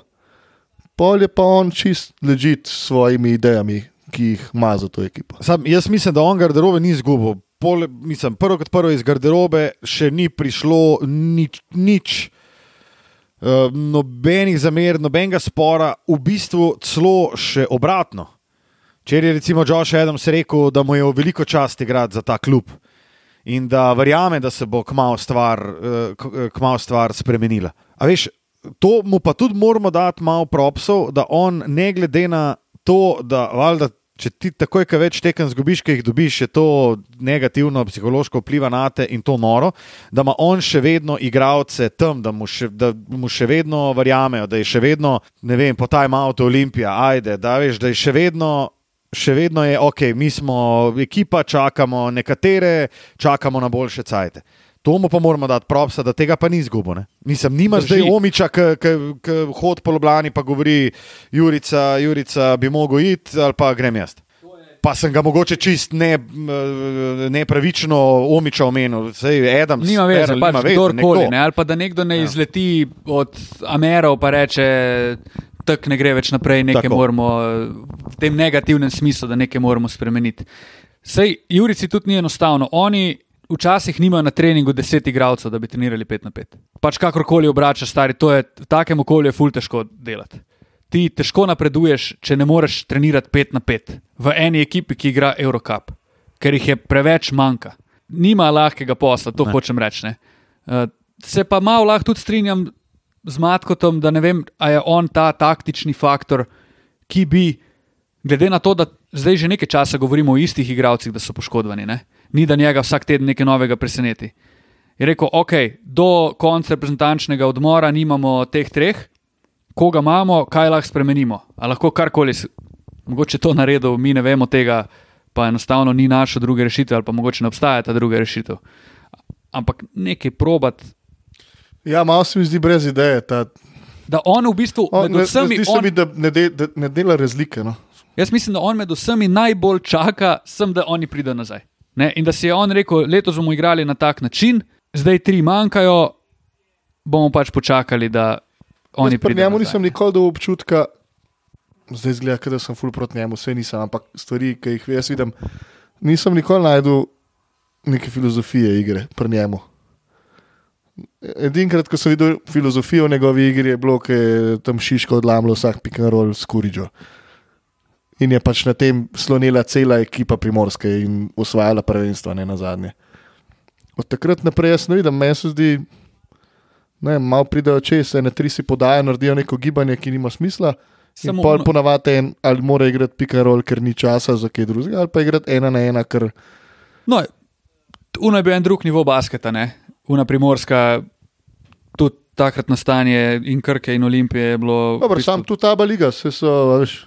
B: pol je pa on čist ležit s svojimi idejami, ki jih ima za to ekipo.
A: Sam, jaz mislim, da on garderobe ni izgubil. Pol, mislim, prvo kot prvo iz garderobe še ni prišlo nič, nič eh, nobenih zamer, nobenega spora, v bistvu celo še obratno. Če je recimo Josh Adams rekel, da mu je v veliko čast igrati za ta klub in da verjame, da se bo kmalo stvar, eh, k- eh, kmalu stvar spremenila. A veš, to mu pa tudi moramo dati malo propsov, da on ne glede na to, da valjda, če ti takoj, ko več tekem zgubiš, ki jih dobiš, je to negativno, psihološko vpliva na te in to noro, da ima on še vedno igralce tam, da mu še, da mu še vedno verjamejo, da je še vedno, ne vem, po time out Olimpija, ajde, da veš, da je še vedno še vedno je, ok, mi smo ekipa, čakamo nekatere, čakamo na boljše cajte. To mu pa moramo dati propsa, da tega pa ni izgubo. Ne? Mislim, nimaš zdaj
C: Drži.
A: omiča, ki hod po Ljubljani pa govori, Jurica, Jurica bi mogel iti ali pa grem jaz. Pa sem ga mogoče čist ne, m, nepravično omiča omenil, zdaj Adam.
C: Nima veze, pač kdorkoli. Ne, ali pa da nekdo ne
A: Ja.
C: ja. izleti od Amerika in reče, tak ne gre več naprej, nekaj
A: Tako.
C: moramo eh, v tem negativnem smislu, da nekaj moramo spremeniti. Sej, Jurici tudi ni enostavno. Oni včasih nimajo na treningu deset igralcev, da bi trenirali pet na pet. Pač kakorkoli obračaš, stari, to je v takem okolju je ful težko delati. Ti težko napreduješ, če ne moreš trenirati pet na pet v eni ekipi, ki igra Eurocup, ker jih je preveč manjka. Nima lahkega posla, to ne. hočem reči. ne. Eh, Se pa malo lahko tudi strinjam z Matkotom, da ne vem, ali je on ta taktični faktor, ki bi, glede na to, da zdaj že nekaj časa govorimo o istih igralcih, da so poškodovani, ne? ni da njega vsak teden nekaj novega preseneti. Je rekel, ok, do konca reprezentančnega odmora nimamo teh treh, koga imamo, kaj lahko spremenimo. A lahko karkoli, s- mogoče to naredil, mi ne vemo tega, pa enostavno ni našo druge rešitve, ali pa mogoče ne obstaja ta druga rešitev. Ampak nekaj probat,
B: Ja, malo se mi zdi brez ideje. Ta,
C: da on v bistvu
B: on,
C: med
B: ne,
C: vsemi.
B: zdi se
C: on-
B: mi, da ne, de, da ne dela razlike. No.
C: Jaz mislim, da on med vsemi najbolj čaka, sem, da oni pridejo nazaj. Ne? In da si je on rekel, letos bomo igrali na tak način, zdaj tri manjkajo, bomo pač počakali, da
B: Jaz
C: oni
B: pri
C: pridejo.
B: njemu
C: nazaj.
B: nisem nikoli dobil občutka, zdaj zgleda, kot da sem ful proti njemu, vse nisem, ampak stvari, ki jih jaz vidim, nisem nikoli najdel neke filozofije igre pri njemu. Edinkrat, ko sem videl filozofijo v njegovi igri, je bilo, ko je tam Šiško odlamilo vsak piknarol s Kuridžo. In je pač na tem slonila cela ekipa primorske in osvajala prvenstvo, ne na zadnje. Od takrat naprej jaz ne vidim, meni se zdi, ne, malo pridejo čez, ene tri si podajo, naredijo neko gibanje, ki nima smisla.
C: Samo
B: Samo pol
C: ono-
B: ponavadi en ali mora igrati pikarol, ker ni časa za kaj drugega, ali pa igrati ena na ena, ker
C: No, Uno je bil en drug nivo basketa, ne? Una primorska, tudi takrat nastanje in Krke in Olimpije je bilo. v
B: Dobar,
C: bistvu-
B: sam tu ta baliga, se so, a veš,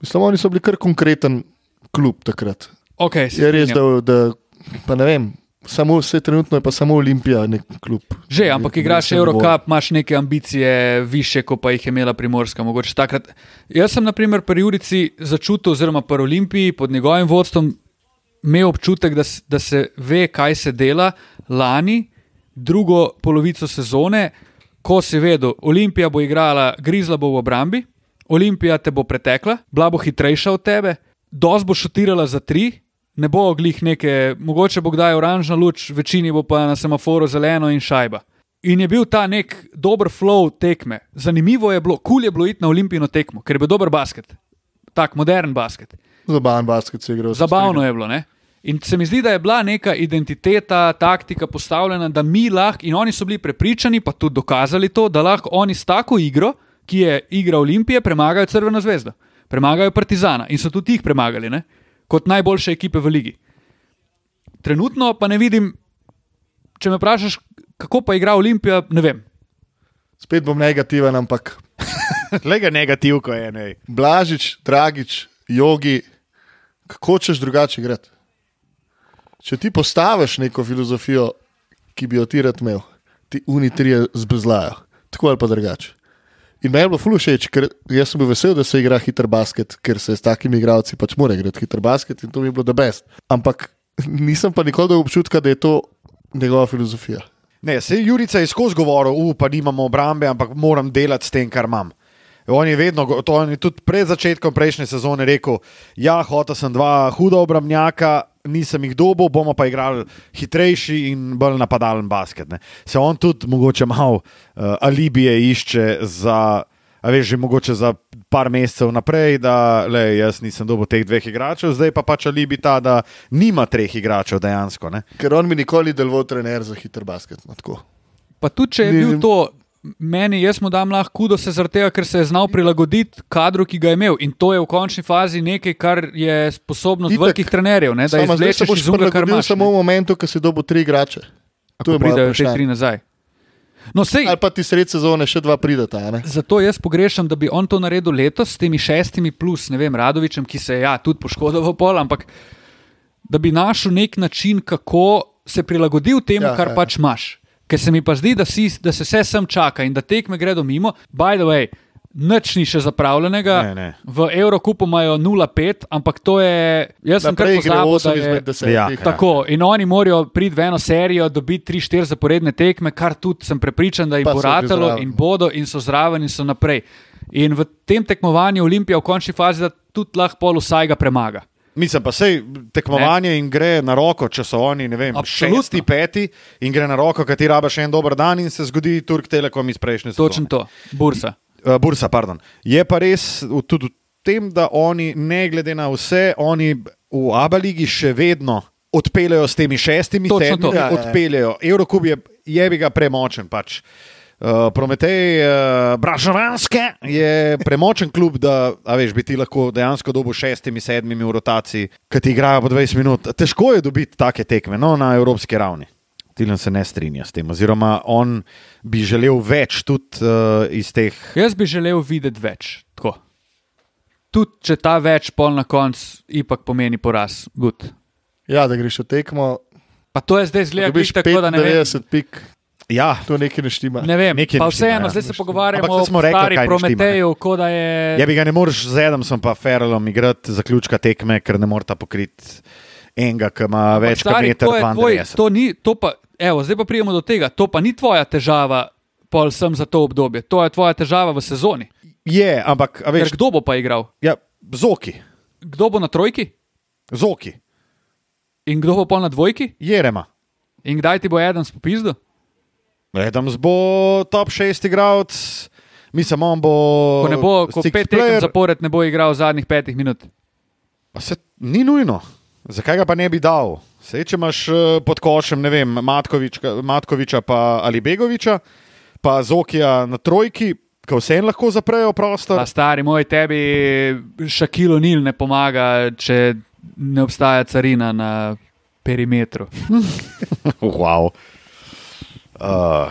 B: mislim, oni so bili kar konkreten klub takrat.
C: okay, se
B: Je Ja, res,
C: strinjam.
B: da, da pa ne vem, samo vse trenutno je pa samo Olimpija nek klub.
C: Že, ampak igraš Eurocup, imaš neke ambicije više, kot pa jih je imela Primorska. mogoče Takrat, jaz sem, na primer, pri Jurici začutil, oziroma pri Olimpiji pod njegovim vodstvom, imel občutek, da, s- da se ve, kaj se dela lani, drugo polovico sezone, ko si vedel, Olimpija bo igrala, grizla bo v obrambi, Olimpija te bo pretekla, bila bo hitrejša od tebe, dosti bo šutirala za tri. Ne bo glih neke, mogoče bo kdaj oranžna luč, večini bo pa na semaforu zeleno in šajba. In je bil ta nek dober flow tekme. Zanimivo je bilo, kul cool je bilo iti na olimpijsko tekmo, ker je bil dober basket, tak modern basket.
B: Zabaven basket se igra.
C: Zabavno je bilo. Ne? In se mi zdi, da je bila neka identiteta, taktika postavljena, da mi lahko, in oni so bili prepričani, pa tudi dokazali to, da lahko oni s tako igro, ki je igra Olimpije, premagajo Crveno zvezdo, premagajo Partizana in so tudi jih premagali, ne? kot najboljše ekipe v ligi. Trenutno pa ne vidim, če me vprašaš, kako pa igra Olimpija, ne vem.
B: Spet bom negativen, ampak
A: Le ga negativko je. Nej.
B: Blažič, Dragič, jogi, kako češ drugače igrati. Če ti postaviš neko filozofijo, ki bi jo ti rad imel, ti unitrije zbezlajo, tako ali pa drugače. In meni je bilo ful všeč, ker jaz sem bil vesel, da se igra hiter basket, ker se s takimi igralci pač mora igrati hiter basket in to mi je bilo da best. Ampak nisem pa nikoli dobil občutka, da je to njegova filozofija.
A: Ne, se Jurica je skozi govoril, "U, pa nimamo obrambe, ampak moram delati s tem, kar imam. On je vedno, go- to on je tudi pred začetkom prejšnje sezone rekel, ja, hotel sem dva huda obrambnjaka, nisem jih dobil, bomo pa igrali hitrejši in bolj napadalen basket. Ne. Se on tudi mogoče malo uh, alibije išče za, a veš, že mogoče za par mesecev naprej, da le, jaz nisem dobil teh dveh igračev, zdaj pa pač alibi ta, da nima treh igračev dejansko. Ne.
B: Ker on mi nikoli ni deloval trener za hiter basket. No, tako.
C: Pa tudi, če je
B: Ni-
C: bil to meni, jaz mu dam lahko kudo se zaradi tega, ker se je znal prilagoditi kadru, ki ga je imel. In to je v končni fazi nekaj, kar je sposobnost
B: Itak.
C: velikih trenerjev, ne, da
B: Samo zdaj se
C: izvlečeš
B: boš
C: iz unga, kar
B: prilagodil
C: imaš.
B: samo
C: Samo,
B: v momentu, ko si dobil tri igrače. To je moje
C: ko pridejo te
B: vprašanje.
C: tri nazaj. No, sej,
B: Ali pa ti sred sezone še dva prideta. a ne?
C: Zato jaz pogrešam, da bi on to naredil letos s temi šestimi, plus ne vem, Radovičem, ki se je ja, tudi poškodoval pol, ampak da bi našel nek način, kako se prilagodil temu,
B: Ja,
C: ja, kar
B: ja.
C: ja. pač imaš. Ker se mi pa zdi, da, si, da se vse sem čaka in da tekme gredo mimo. By the way, nič ni še zapravljenega.
A: Ne, ne.
C: V Eurocupu imajo 0,5, ampak to je. Jaz sem kar
B: Naprej gre
C: pozabil,
B: 8
C: da je,
B: izmed 10.
A: Ja, ja.
C: Tako, in oni morajo priti v eno serijo, dobiti 3-4 zaporedne tekme, kar tudi sem prepričan, da jim
B: Pa
C: bo
B: so že
C: ratalo
B: zraven.
C: in bodo in so zraven in so naprej. In v tem tekmovanju Olimpija v končni fazi da tudi lahko pol vsaj ga premaga.
A: Mislim pa, sej tekmovanje ne. in gre na roko, če so oni, ne vem,
C: Absolutno.
A: šesti, peti in gre na roko, kaj ti rabaš en dober dan in se zgodi Turk Telekom iz prejšnje
C: Točno to, bursa.
A: Uh, Bursa, pardon. Je pa res v- tudi v tem, da oni, ne glede na vse, oni v Abu Leiji še vedno odpeljejo s temi šestimi,
C: Točno to.
A: sedmimi,
B: Ja, ja, ja.
A: odpeljejo. Eurokub je, je bi ga premočen pač. Uh, Prometej uh, Bražovanske je premočen klub, da a veš, bi ti lahko dejansko dobil šestimi, sedmimi v rotaciji, ki ti igrajo po 20 minut. Težko je dobiti take tekme no, na evropski ravni. Tilan se ne strinja s tem, oziroma on bi želel več tudi uh, iz teh
C: Jaz bi želel videti več. Tako. Tudi če ta več pol na koncu, ipak pomeni poraz. Good.
B: ja, da greš v tekmo.
C: Pa to je zdaj zgleda,
B: Dobiš
C: glih Ja, tako da ne vem.
B: 90 pik,
A: Ja,
B: to nekaj neštima.
C: Ne vem,
A: Nekaj
C: pa
A: ne štima,
C: vseeno,
A: ja.
C: zdaj se
A: Ampak
C: pogovarjamo
A: saj
C: o
A: smo rekli,
C: stari
A: kaj ne štima, ne.
C: Prometeju, kot da je.
A: je Ja, bi ga ne moreš z Edom, sem pa Feralom igrati zaključka tekme, ker ne moreta pokriti enega, ki ima več kot
C: Stari,
A: meter
C: to je tvoj,
A: 92.
C: to ni, to pa, evo, zdaj pa prijemo do tega. To pa ni tvoja težava, pol sem za to obdobje. To je tvoja težava v sezoni.
A: Je, ampak a
C: Ker
A: veš,
C: kdo bo pa igral?
A: ja, zoki,
C: Kdo bo na trojki
A: zoki,
C: in kdo bo pa na dvojki?
A: jerema.
C: In kdaj ti bo eden spopizdo?
A: Edams bo top 6 igralec, mislim, on bo.
C: Ko ne bo, ko
A: sixth
C: pet tekem
A: player.
C: zapored ne bo igral zadnjih petih minut.
A: Pa Se, ni nujno. Zakaj ga pa ne bi dal? Sej, če imaš eh, pod košem, ne vem, Matkovička, Matkoviča pa ali Begoviča, pa Zokija na trojki, ki vsem lahko zaprejo prostor.
C: Pa stari moj, tebi Šakilo Nil ne pomaga, če ne obstaja carina na perimetru.
A: Wow. Uh,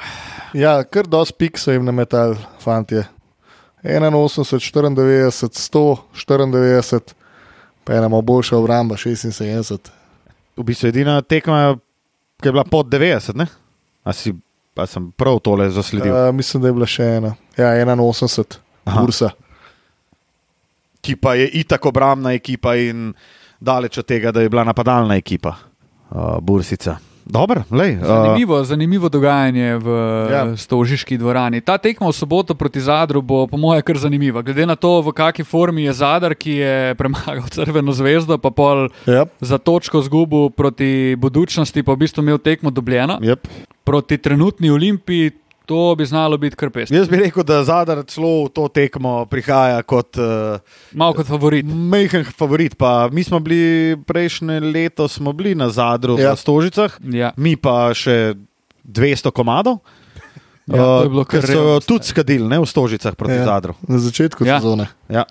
B: Ja, kar dosti pik so jim nametali, fantje. 81, 94, 100, 94, pa ena malo boljša obramba, 76.
A: v bistvu edina tekma, ki je bila pod 90, ne? A, si, a sem prav tole zasledil. Uh,
B: Uh, mislim, da je bila še ena. Ja, 81,
A: Aha.
B: Bursa.
A: ki pa je itak obrambna ekipa in daleč od tega, da je bila napadalna ekipa, uh, Bursica. Dobro, lej, uh,
C: Zanimivo, zanimivo dogajanje v
B: Ja.
C: ja. Stožiški dvorani. Ta tekma v soboto proti Zadru bo, po mojem, kar zanimiva. Glede na to, v kakšni formi je Zadar, ki je premagal Crveno zvezdo, pa pol
B: Yep.
C: za točko zgubo proti budučnosti, pa v bistvu imel tekmo dobljeno.
A: yep.
C: Proti trenutni olimpiji to bi znalo biti kar pest.
A: Jaz bi rekel, da Zadar celo v to tekmo prihaja kot uh,
C: Malo kot favorit.
A: majhen favorit. Pa mi smo bili prejšnje leto smo bili na Zadru ja.
B: Ja.
A: v Stožicah,
C: Ja.
A: mi pa še 200 komadov.
C: Ja, to je bilo kar
A: Eh, Uh, ker so jo tudi skadili, ne v Stožicah proti ja. Zadru.
B: Na začetku
C: Ja.
B: ja. sezone.
A: Ja.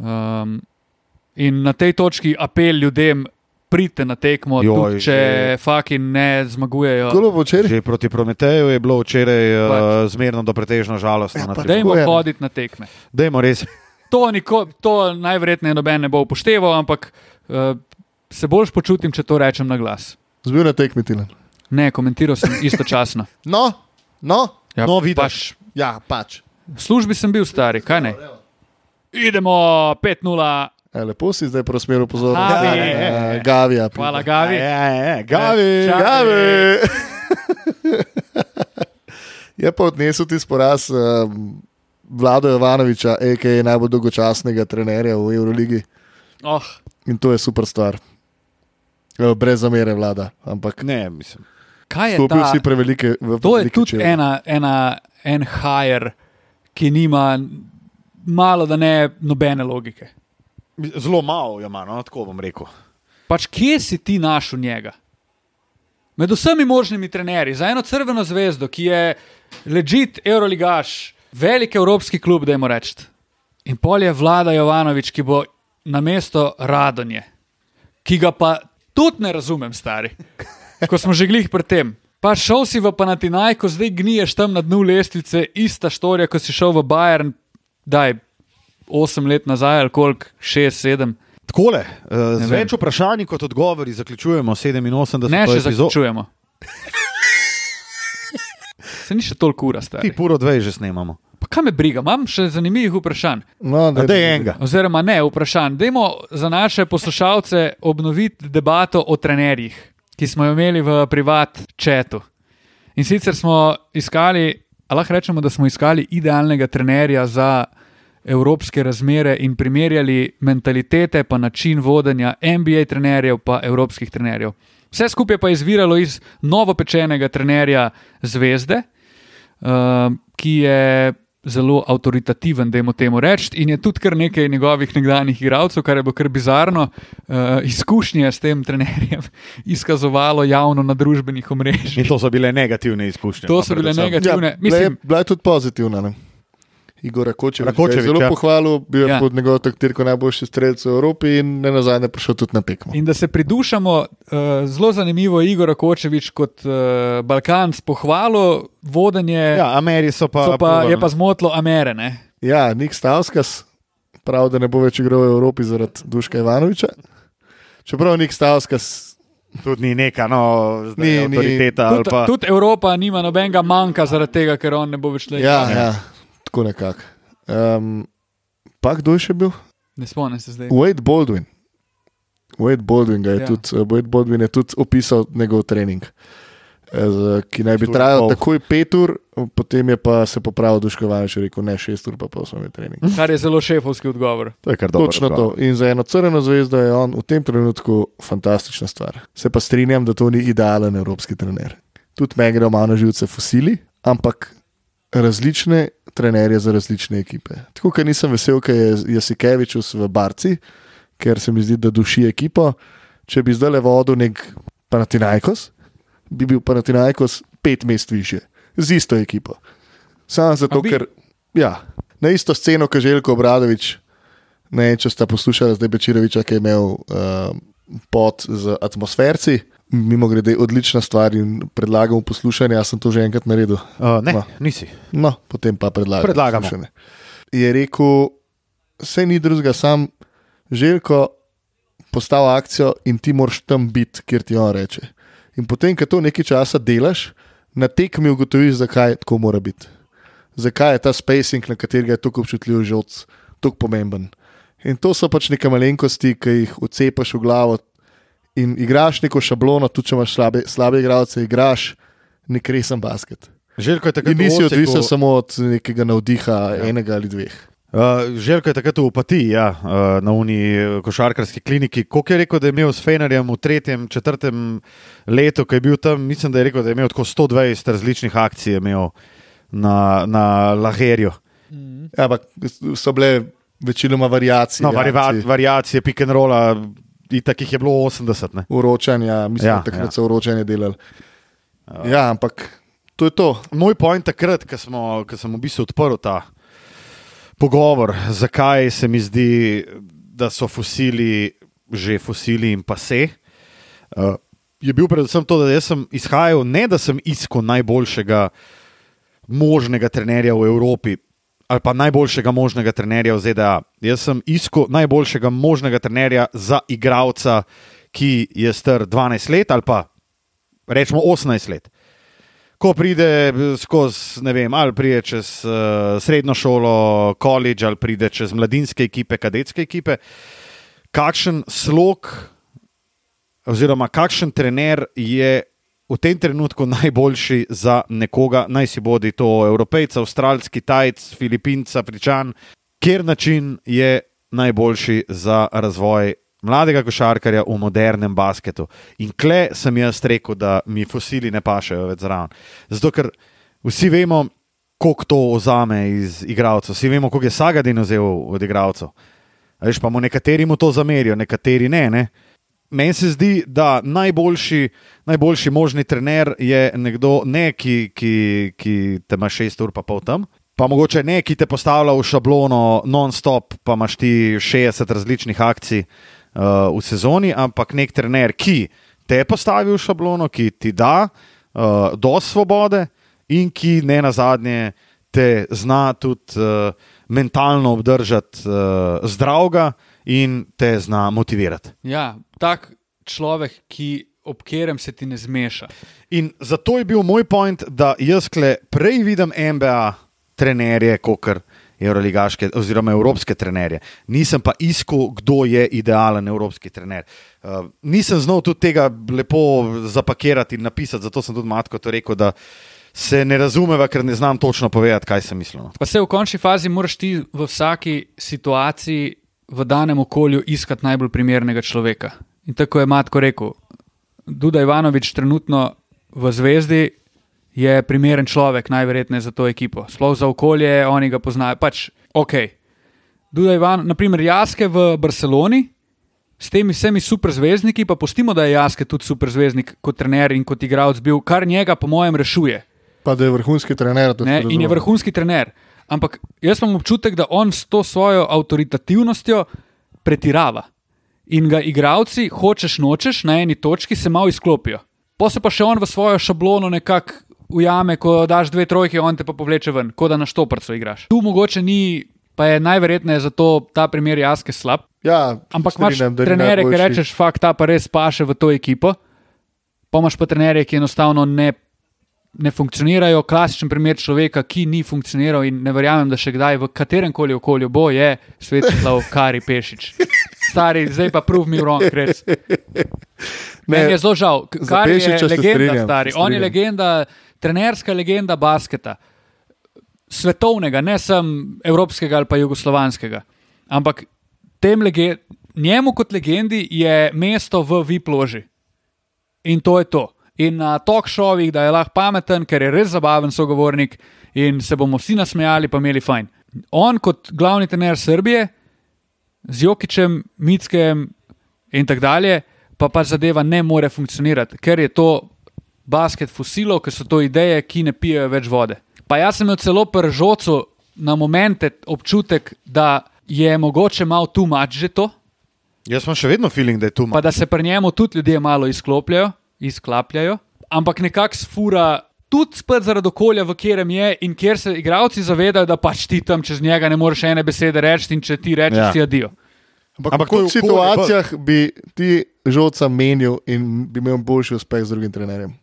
C: Um, in na tej točki apel ljudem, pridite na tekmo,
A: Joj,
C: tudi če fucking ne zmagujejo.
B: Kolo bo včeraj.
A: Že proti Prometeju je bilo včeraj uh,
C: Pač.
A: zmerno do pretežno žalostno. na
B: pa
A: tribuni.
C: Dajmo
B: Tako je.
C: hoditi na tekme.
A: Dajmo res.
C: To, niko, to najverjetneje noben ne bo upošteval, ampak uh, se boljš počutim, če to rečem na glas.
B: Zbil na tekmi Tilan.
C: Ne, komentiral sem istočasno.
B: No, no,
C: Ja,
A: No, vidiš.
C: pač,
B: ja, pač.
C: v službi sem bil stari, kaj ne. Idemo 5-0,
B: E, lepo si zdaj prosmeril pozornost.
C: Gavi.
B: Ja, Gavija.
C: hvala Gavi.
A: Ja, ja, ja, Gavi.
C: Eh, čak-
B: Gavi. je pa odnesel ti sporaz um, Vlado Jovanoviča, a.k.a. najbolj dolgočasnega trenerja v Euroligi.
C: Oh,
B: In to je super stvar. Eh, Brez zamere vlada, ampak
A: Ne, mislim.
C: kaj je
B: stopil
C: ta?
B: si prevelike v
C: To je
B: prevelike
C: tudi
B: čevlje.
C: ena, ena, en hajer, ki nima malo da ne nobene logike.
A: Zelo malo jo ima, no, tako bom rekel.
C: Pač kje si ti našel njega? Med vsemi možnimi trenerji, za eno crveno zvezdo, ki je ležit Euroligaš, velik evropski klub, da jim rečem. In pol je vlada Jovanovič, ki bo na mesto Radonje, ki ga pa tudi ne razumem, stari. Ko smo že glih pred tem. Pa šel si v Panatinaj, ko zdaj gniješ tam na dnu lestvice, ista štorija, ko si šel v Bayern, daj, osem let nazaj, ali koliko, šest, sedem.
A: Takole, eh, z
C: Ne vem.
A: več vprašanji kot odgovori zaključujemo 87.
C: Ne, še
A: epizodo.
C: zaključujemo. Se ni še toliko ura star.
A: Ti puro dve že snemamo.
C: Pa kaj me briga, imam še zanimivih vprašanj.
B: No,
A: A
B: daj,
A: Dej
B: daj.
A: enega.
C: Oziroma, ne vprašanj. Dajmo za naše poslušalce obnoviti debato o trenerjih, ki smo jo imeli v privat četu. In sicer smo iskali, a lahko rečemo, da smo iskali idealnega trenerja za evropske razmere in primerjali mentalitete, pa način vodenja NBA trenerjev, pa evropskih trenerjev. Vse skupaj je pa je izviralo iz novopečenega trenerja Zvezde, um, ki je zelo avtoritativen, da jim temu reči, in je tudi kar nekaj njegovih nekdanjih igralcev, kar je bilo kar bizarno, uh, izkušnje s tem trenerjem izkazovalo javno na družbenih omrežjih.
A: In to so bile negativne izkušnje.
C: To
A: no,
C: so bile
A: predvsem.
B: Ja,
C: negativne. Aktivne,
B: bila, je,
C: mislim-
B: bila je tudi pozitivna. Ne? Igor Rakočevič, Rakočevič
A: Rakočević,
B: je zelo
A: ja.
B: ja. pohvalil, bil je
C: Ja.
B: ja. pod njegovo taktirko najboljši strelec v Evropi in ne nazadnje prišel tudi na tekmo.
C: In da se pridušamo, uh, zelo zanimivo je Igor Kočevič kot uh, Balkanc pohvalo, vodenje ja,
A: Ja, Ameri so pa.
C: pa, pa,
A: provali.
C: je pa zmotilo Amere. Ne?
B: Ja, Nik Stavskas pravi, da ne bo več igral v Evropi zaradi Duška Ivanoviča. Čeprav Nik Stavskas
A: Tudi ni neka no, zdaj,
B: Ni,
A: ni,
B: ni.
A: avtoriteta. Ni.
C: Tudi
A: Pa,
C: tud Evropa nima nobenega manjka zaradi tega, ker on ne bo več le.
B: Ja, ja, tako nekako. Um, pa kdo je še bil?
C: Ne spomnim se zdaj.
B: Wade Baldwin. Wade Baldwin, ga je,
C: Ja.
B: ja. tudi, Wade Baldwin je tudi opisal njegov trening, eh, z- ki naj bi
A: Štiri in
B: trajal
A: pol.
B: takoj pet ur, potem je pa se popravil Duškovan še rekel, ne šest ur, pa pa osem je trening.
C: Kar je zelo šefovski odgovor.
A: to je kar dobro.
B: Točno to. In za eno crveno zvezdo je on v tem trenutku fantastična stvar. Se pa strinjam, da to ni idealen evropski trener. Tudi me grejo malo na živce fosili, ampak različne trenerje za različne ekipe. Tako kot nisem vesel, ker je Jasikevičus v Barci, ker se mi zdi, da duši ekipo. Če bi zdaj le vodil nek Panatinajkos, bi bil Panatinajkos pet mest više, z isto ekipo. Samo
C: A
B: zato,
C: bi?
B: ker ja, na isto sceno, kot Željko Obradovič, ne, če ste poslušali zdaj Bečiroviča, ki je imel uh, pot z atmosferci. Mimo grede, odlična stvar in predlagam v poslušanje. Jaz sem to že enkrat naredil,
A: Uh, ne,
B: No.
A: nisi.
B: no, potem pa predlagam.
A: Predlagamo.
B: poslušanje. Je rekel, vse ni drugega, sam želko postavi akcijo in ti moraš tam biti, kjer ti on reče. In potem, ko to nekaj časa delaš, na tekmi ugotoviš, zakaj tako mora biti. Zakaj je ta spacing, na katerega je tako občutljiv žoc, tako pomemben. In to so pač neke malenkosti, ki jih ocepaš v glavo. In igraš neko šablono, tudi če imaš slabe, slabe igralce, igraš nek resen basket.
A: Željko je takrat
B: In
A: v
B: nisi
A: Osijeku-
B: odvisen samo od nekega navdiha, ja. enega ali dveh.
A: Uh, Željko je takrat v opatiji, ja, uh, na uniji košarkarski kliniki. Koliko je rekel, da je imel s Fenerjem v tretjem, četrtem letu, ko je bil tam, mislim, da je rekel, da je imel tako 120 različnih akcij je imel na, na Laherju.
C: Mhm.
B: Ja, ampak so bile večinoma variacije.
A: No, variva,
B: variacije.
A: variacije pick and rolla, itak jih je bilo 80. Ne?
B: Uročanja, mislim,
A: Ja,
B: ja, takrat
A: ja.
B: ja. so uročanje delali. Ja, ampak To je to.
A: Moj point takrat, ko smo- ko sem v bistvu odprl ta pogovor, zakaj se mi zdi, da so fosili, že fosili in pa se. Uh, je bil predvsem to, da jaz sem izhajal, ne da sem iskal najboljšega možnega trenerja v Evropi ali pa najboljšega možnega trenerja v ZDA. Jaz sem iskal najboljšega možnega trenerja za igralca, ki je star 12 let ali pa rečemo 18 let ko pride eh, skozi, ne vem, ali pride čez uh, srednjo šolo, koledž, ali pride čez mladinske ekipe, kadetske ekipe, kakšen slog oziroma kakšen trener je v tem trenutku najboljši za nekoga, naj si bodi to evropejca, avstralc, kitajc, filipinc, afričan, kjer način je najboljši za razvoj mladega košarkarja v modernem basketu. In kle sem jaz rekel, da mi fosili ne pašejo več zraven. Zato ker vsi vemo, koliko to ozame iz igralcev, vsi vemo, koliko je Sagadin vzel od igralcev. A Veš, pa mu nekateri mu to zamerijo, nekateri ne. ne? Meni se zdi, da najboljši, najboljši možni trener je nekdo, ne, ki, ki, ki te ima šest ur, pa pol tam. Pa mogoče ne, ki te postavlja v šablono non-stop, pa imaš ti 60 različnih akcij uh, v sezoni, ampak nek trener, ki te postavi v šablono, ki ti da uh, do svobode in ki ne na zadnje te zna tudi uh, mentalno obdržati uh, zdravega in te zna motivirati.
C: Ja, tak človek, ki, ob katerem se ti ne zmeša.
A: In zato je bil moj point, da jaz kle prej vidim MBA trenerje, kot evroligaške oziroma evropske trenerje. Nisem pa iskal, kdo je idealen evropski trener. Uh, nisem znal tudi tega lepo zapakirati in napisati, zato sem tudi matko to rekel, da se ne razumeva, ker ne znam točno povedati, kaj sem mislil. no.
C: Pa se v končni fazi moraš ti v vsaki situaciji, v danem okolju, iskati najbolj primernega človeka. In tako je Matko rekel, Duda Ivanovič, trenutno v Zvezdi, je primeren človek, najverjetneje za to ekipo. Sploh za okolje, oni ga poznajo. Pač, ok. Duda Ivan, naprimer Jaske v Barceloni. S temi vsemi superzvezdniki, pa pustimo, da je Jaske tudi superzvezdnik kot trener in kot igralec bil, kar njega, po mojem, rešuje.
B: Pa da je vrhunski trener. da se
C: Ne, in je
B: razumemo.
C: vrhunski trener. Ampak jaz imam občutek, da on s to svojo avtoritativnostjo pretirava. In ga igravci, hočeš, nočeš, na eni točki se malo izklopijo. Pa se pa še on v svojo šablono nekako ujame, ko daš dve trojke, on te pa povleče ven, kot da na štoprcu igraš. Tu mogoče ni, pa je najverjetneje zato ta primer Jaske slab.
B: Ja,
C: Ampak imaš
B: strinjam, da ni
C: trenerje, ki
B: najboljši.
C: rečeš, fakt, ta pa res paše v to ekipo. Pa imaš pa trenerje, ki enostavno ne, ne funkcionirajo. Klasičen primer človeka, ki ni funkcioniral in ne verjamem, da še kdaj v katerem koli okolju bo, je Svetislav Kari Pešič. Stari, zdaj pa prove me wrong, res.
B: Ne,
C: Meni je zelo žal,
B: za
C: kar je
B: Pešiča se
C: legenda,
B: strinjam,
C: stari.
B: se
C: On je
B: strinjam.
C: legenda, trenerska legenda basketa. Svetovnega, ne samo evropskega ali pa jugoslovanskega. Ampak tem lege, njemu kot legendi je mesto v Viploži. In to je to. In na talk šovih, da je lahko pameten, ker je res zabaven sogovornik in se bomo vsi nasmejali, pa imeli fajn. On kot glavni trener Srbije z Jokičem, Mickem in tako dalje, pa pač zadeva ne more funkcionirati, ker je to basket fosilov, ker so to ideje, ki ne pijejo več vode. Pa jaz sem imel celo pri žocu na momente občutek, da je mogoče malo tu mač že to,
A: Jaz imam še vedno feeling, da je tu
C: pa da se pri njemu tudi ljudje malo izklopljajo, izklapljajo, ampak nekako sfura. Tudi spet zaradi okolja, v katerem je in kjer se igravci zavedajo, da pač ti tam čez njega ne moreš ene besede reči, in če ti rečeš,
A: Ja.
C: ja. si adijo.
A: Ampak
B: Ampak, ampak
A: to je
B: v
A: okolje,
B: situacijah bi ti žoca menil in bi imel boljši uspeh z drugim trenerjem.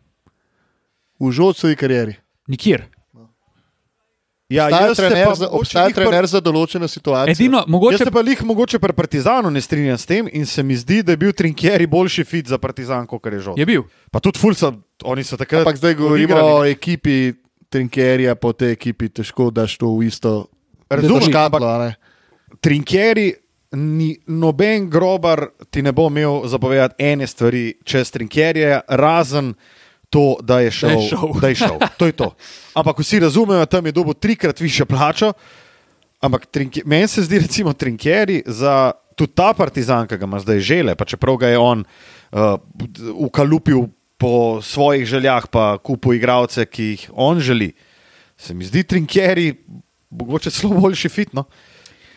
B: V žocovi karieri.
C: Nikjer.
A: Ja,
B: Obstaja
A: jaz se
B: trener
A: pa
B: za-
A: mogoče
B: Obstaja
A: glih pri-
B: trener za določene situacije.
C: Edino,
A: Jaz
C: mogoče
A: se pa jih mogoče pri Partizanu ne strinjam s tem in se mi zdi, da je bil Trinkjeri boljši fit za Partizan, kot je žoga.
C: je bil.
A: Pa tudi Fulsa, oni so takrat.
B: Ampak zdaj govorimo
A: odigrali.
B: o ekipi Trinkerija, po tej ekipi težko daš to v isto.
A: Razumem,
B: škatlo, a ne?
A: Trinkjeri, ni, noben grobar ti ne bo imel zapovedati ene stvari čez Trinkjerje, razen to, da je šel.
C: Da je šel.
A: da je šel. To je to. Ampak vsi razumejo, tam je dobil trikrat više plačo. Ampak trinke, meni se zdi, recimo, Trinkjeri za tudi ta partizan, ki ga ima zdaj žele, pa čeprav ga je on uh, eh, ukalupil. po po svojih željah, pa kupu igralce, ki jih on želi. Se mi zdi Trinkeri, mogoče celo boljši no. fitno.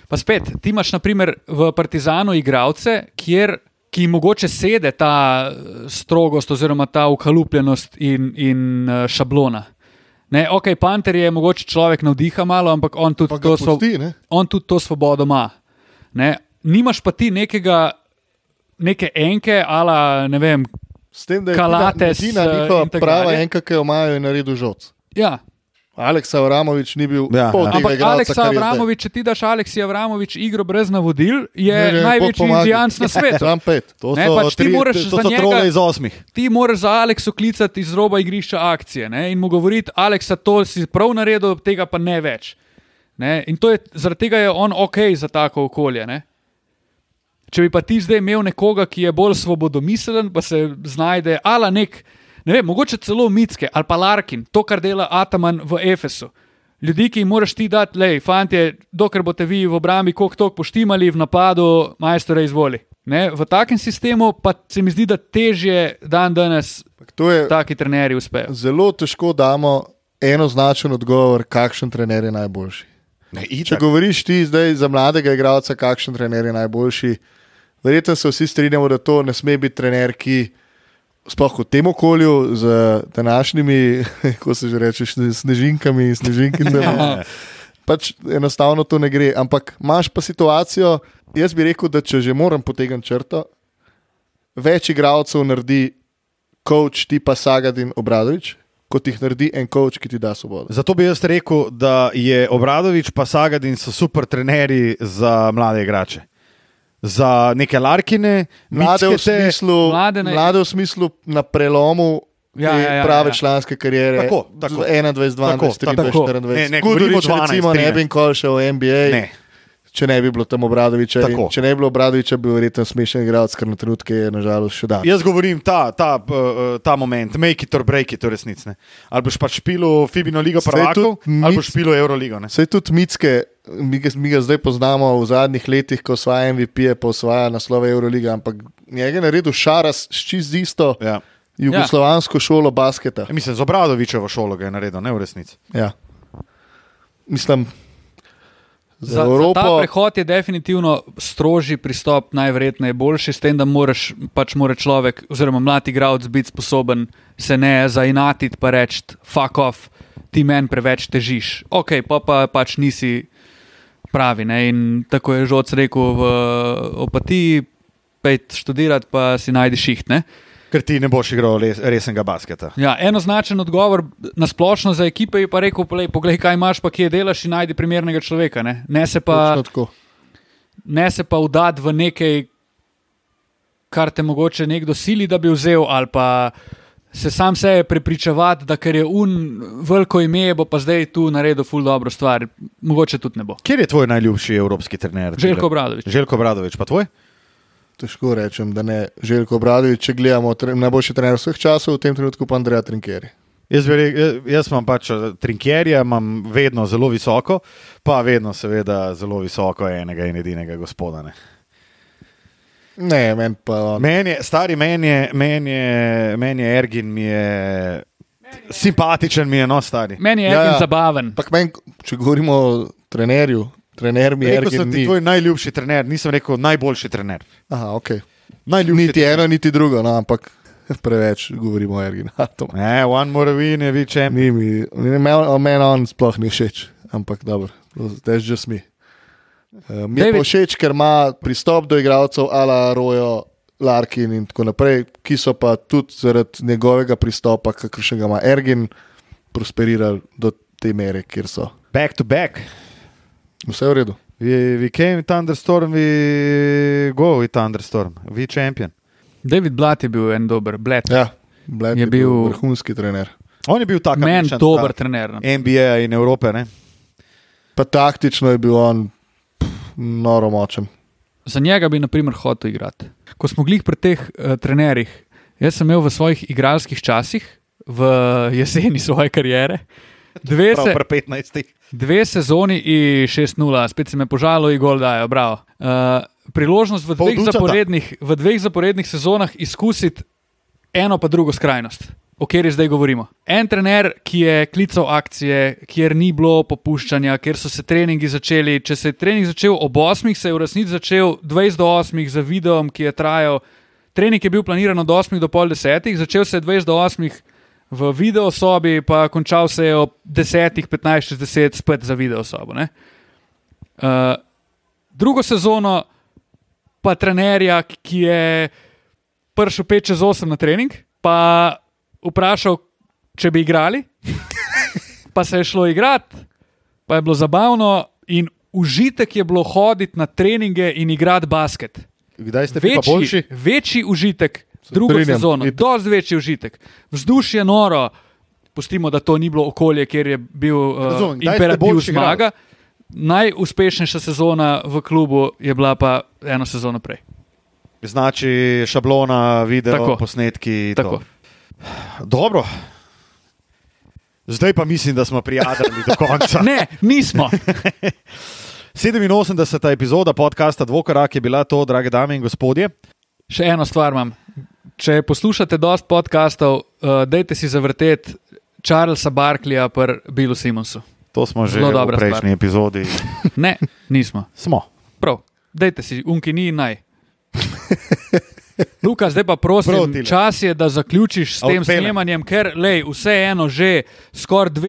C: Pa spet, ti imaš naprimer v Partizanu igralce, kjer. Ki jim mogoče sedi ta eh, strogost, oziroma ta ukalupljenost in, in eh, šablona. Ne, ok, Panter je mogoče človek navdiha malo, ampak on tudi,
B: Pa ga
C: to, svo-
B: pusti, ne?
C: on tudi to svobodo ima. Ne, nimaš pa ti nekega, neke enke, ala ne vem.
B: S tem, da je
C: Kalates,
B: edina
C: eh,
B: njihova
C: in tako
B: prava
C: dalje.
B: enka, ki jo imajo, je naredil žoc.
C: Ja,
B: Aleksa Avramovič ni bil
A: Ja,
B: ja, pol
A: ja.
B: tega
C: Ampak
B: igralca,
C: Aleksa
B: kar je zdaj.
C: Abramovič, če ti daš Aleksi Abramovič igro brez navodil, je
B: Ne, ne, Bog
C: največji
B: pomagaj.
C: indijanc na svetu.
B: Sam pet.
A: To
C: Ne,
A: so,
C: pač ti
A: tri,
C: moraš
A: to
C: za
A: so
C: njega-
A: trole iz osmih.
C: Ti moraš za Aleksa klicati iz roba igrišča akcije ne? in mu govoriti, Aleksa, to si prav naredil, tega pa ne več. Ne? In to je, zaradi tega je on ok za tako okolje. Ne? Če bi pa ti zdaj imel nekoga, ki je bolj svobodomiselen, pa se znajde, ala nek, ne vem, mogoče celo Mitske ali pa Larkin, to, kar dela Ataman v Efesu. Ljudi, ki jim moraš ti dati, lej, fantje, dokler boste vi v obrambi koliko tok poštimali, v napadu, majstore izvoli. Ne, v takem sistemu pa se mi zdi, da težje dan danes
B: To je
C: taki trenerji uspejo.
B: zelo težko damo enoznačen odgovor, kakšen trener je najboljši.
A: Ne,
B: Če govoriš ti zdaj za mladega igralca, kakšen trener je najboljši, verjetno se vsi strinjamo, da to ne sme biti trener, ki sploh v tem okolju z današnjimi, ko se že reče, sne- snežinkami in snežinkicami. Pač enostavno to ne gre, ampak imaš pa situacijo, jaz bi rekel, da če že moram potegniti črto, več igralcev naredi coach tipa Sagadin Obradovič, kot jih naredi en coach, ki ti da svobodo.
A: Zato bi jaz rekel, da je Obradovič pa Sagadin so super trenerji za mlade igrače. Za neke larkine,
B: Mlade v,
A: mickete,
B: smislu,
C: Mlade ne-
B: mlade v smislu na prelomu
C: Ja,
B: ja,
C: ja, ja,
B: ja, prave
C: ja.
B: ja. članske karijere.
A: Tako, tako.
B: 21, 22,
A: Tako,
B: 23,
A: tako.
B: 24.
A: Ne, ne, govorimo
B: Gudurič,
A: 12,
B: recimo, ne
A: 13.
B: bi nikoli šel v NBA.
A: Ne.
B: Če ne bi bilo tam Obradoviča, in
A: Tako.
B: če ne bi bilo Obradoviča, bi bil verjetno smešen igralec, ker na trenutke je nažalost še dan.
A: Jaz govorim ta, ta, eh, eh, ta moment, make it or break it, resnice. Ali boš pač špilo Fibino ligo
B: Saj
A: prvakov,
B: tudi
A: ali
B: nic-
A: boš špilo Euroligo. Ne?
B: Vse tudi mitske, mi ga, mi ga zdaj poznamo v zadnjih letih, ko osvaja MVP, pa osvaja naslove Euroliga, amampak njega je naredil šaras s čist isto
A: Ja.
B: jugoslovansko šolo basketa.
A: Ja, Mislim, z Obradovičevo šolo ga je naredil, ne v resnici.
B: Ja. Mislim, za,
C: Za,
B: za
C: za ta
B: Evropo.
C: prehod je definitivno strožji pristop, najverjetneje boljši, s tem, da moraš, pač mora človek, oziroma mladi igralec, biti sposoben se ne zainatiti, pa reči: fuck off, ti meni preveč težiš. Ok, pa pa pač nisi pravi. Ne? In tako je žoc rekel v opatiji, pejt študirati, pa si najdi šiht. Ne?
A: Ker ti ne boš igral les, resnega basketa.
C: Ja, enoznačen odgovor na splošno za ekipe je pa rekel: "Poglej, poglej, kaj imaš, pa kje delaš in najdi primernega človeka. Ne, ne se pa.
B: Točno tako.
C: ne se pa vdati v nekaj, kar te mogoče nekdo sili, da bi vzel, ali pa se sam sebe prepričevati, da ker je un veliko ime, bo pa zdaj tu naredil ful dobro stvar. Mogoče tudi ne bo.
A: Kje je tvoj najljubši evropski trener?
C: Željko Obradović.
A: Željko Obradovič, pa tvoj?
B: Težko rečem, da ne Željko Obradovič, če gledamo tre, najboljši trener vseh časov, v tem trenutku pa Andreja Trinkeri.
A: Jaz, bi rekel, jaz imam pač trinkerje, imam vedno zelo visoko, pa vedno, seveda, zelo visoko enega in edinega gospoda. Ne.
B: Ne, meni pa on.
A: Meni je, stari meni je, meni je, meni je Ergin, mi je simpatičen, mi je no stari.
C: Meni je
B: Ja,
C: ja,
B: ja.
C: ja. zabaven.
B: Ampak meni, če govorimo o trenerju, trener mi je
A: Rekel sem
B: Ergen
A: ti,
B: ni.
A: tvoj najljubši trener, nisem rekel najboljši trener.
B: Aha, ok.
A: Najljubši
B: Niti eno, niti drugo, no, ampak preveč govorimo o Ergenu.
A: Ne, one more win je viče.
B: Ni mi, ni- meni on- meni on sploh ni všeč, ampak dobro, that's just me. Uh, mi je pa
C: David.
B: všeč, ker ima pristop do igralcev, ala Rojo, Larkin in tako naprej, ki so pa tudi zaradi njegovega pristopa, kakršnega ima Ergin, prosperirali do te mere, kjer so.
A: Back to back.
B: Vse je v redu.
A: We, we came thunderstorm, we go with thunderstorm, we champion.
C: David Blat je bil en dober, bled. Ja.
B: Ja, Bled je
C: Je
B: bil
C: bil-
B: vrhunski trener.
A: On je bil tak,
C: Meni
A: ambičen,
C: dober
A: ta
C: trener. no.
A: NBA in Evrope, ne?
B: Pa taktično je bil on pff, noro močen.
C: Za njega bi, na primer, hotel igrati. Ko smo glih pri teh uh, trenerjih, jaz sem imel v svojih igralskih časih, v jeseni svoje kariere, dve,
A: Prav
C: se,
A: pri 15.
C: Dve sezoni in 6-0, spet se me požalo, in gol dajo, bravo. Uh, priložnost v
A: Pol
C: dveh,
A: ducata.
C: zaporednih, v dveh zaporednih sezonah izkusiti eno pa drugo skrajnost, o kateri zdaj govorimo. En trener, ki je klical akcije, kjer ni bilo popuščanja, kjer so se treningi začeli. Če se je trening začel ob 8, se je v resnici začel 20 do 8 za videom, ki je trajal. Trening je bil planiran od 8 do pol 10, začel se je 20 do 8 v video sobi, pa končal se je ob 10, 15, 60 spet za video sobo. Ne? Uh, drugo sezono pa trenerja, ki je prišel 5 čez 8 na trening, pa vprašal, če bi igrali, pa se je šlo igrati, pa je bilo zabavno in užitek je bilo hoditi na treninge in igrati basket.
A: Kdaj ste bili pa boljši?
C: Večji, večji užitek, drugo
B: strinjam,
C: sezono,
B: itak.
C: dosti večji užitek. Vzdušje noro, pustimo, da to ni bilo okolje, kjer je bil uh,
A: Razumem, kdaj ste
C: imperativ
A: boljši
C: zmaga. Najuspešnejša sezona v klubu je bila pa eno sezono prej.
A: Znači, šablona, video,
C: Tako.
A: Tako. posnetki. to.
C: Tako.
A: Dobro. Zdaj pa mislim, da smo prijatelji do konca.
C: Ne, nismo.
A: 87. epizoda podcasta Dvokorak je bila to, drage dame in gospodje.
C: Še eno stvar imam. Če poslušate dost podkastov, uh, dajte si zavrteti Charlesa Barklija pri Billu Simonsu.
A: To smo že
C: Zelo
A: v
C: No, dobra
A: prejšnji epizodi.
C: Ne, nismo.
A: Smo.
C: Prav, dajte si, unki ni naj. Luka, zdaj pa prosim,
A: Prav, Tile.
C: čas je, da zaključiš s
A: A
C: tem
A: odpeljem.
C: snemanjem, ker lej, vseeno že skoraj dve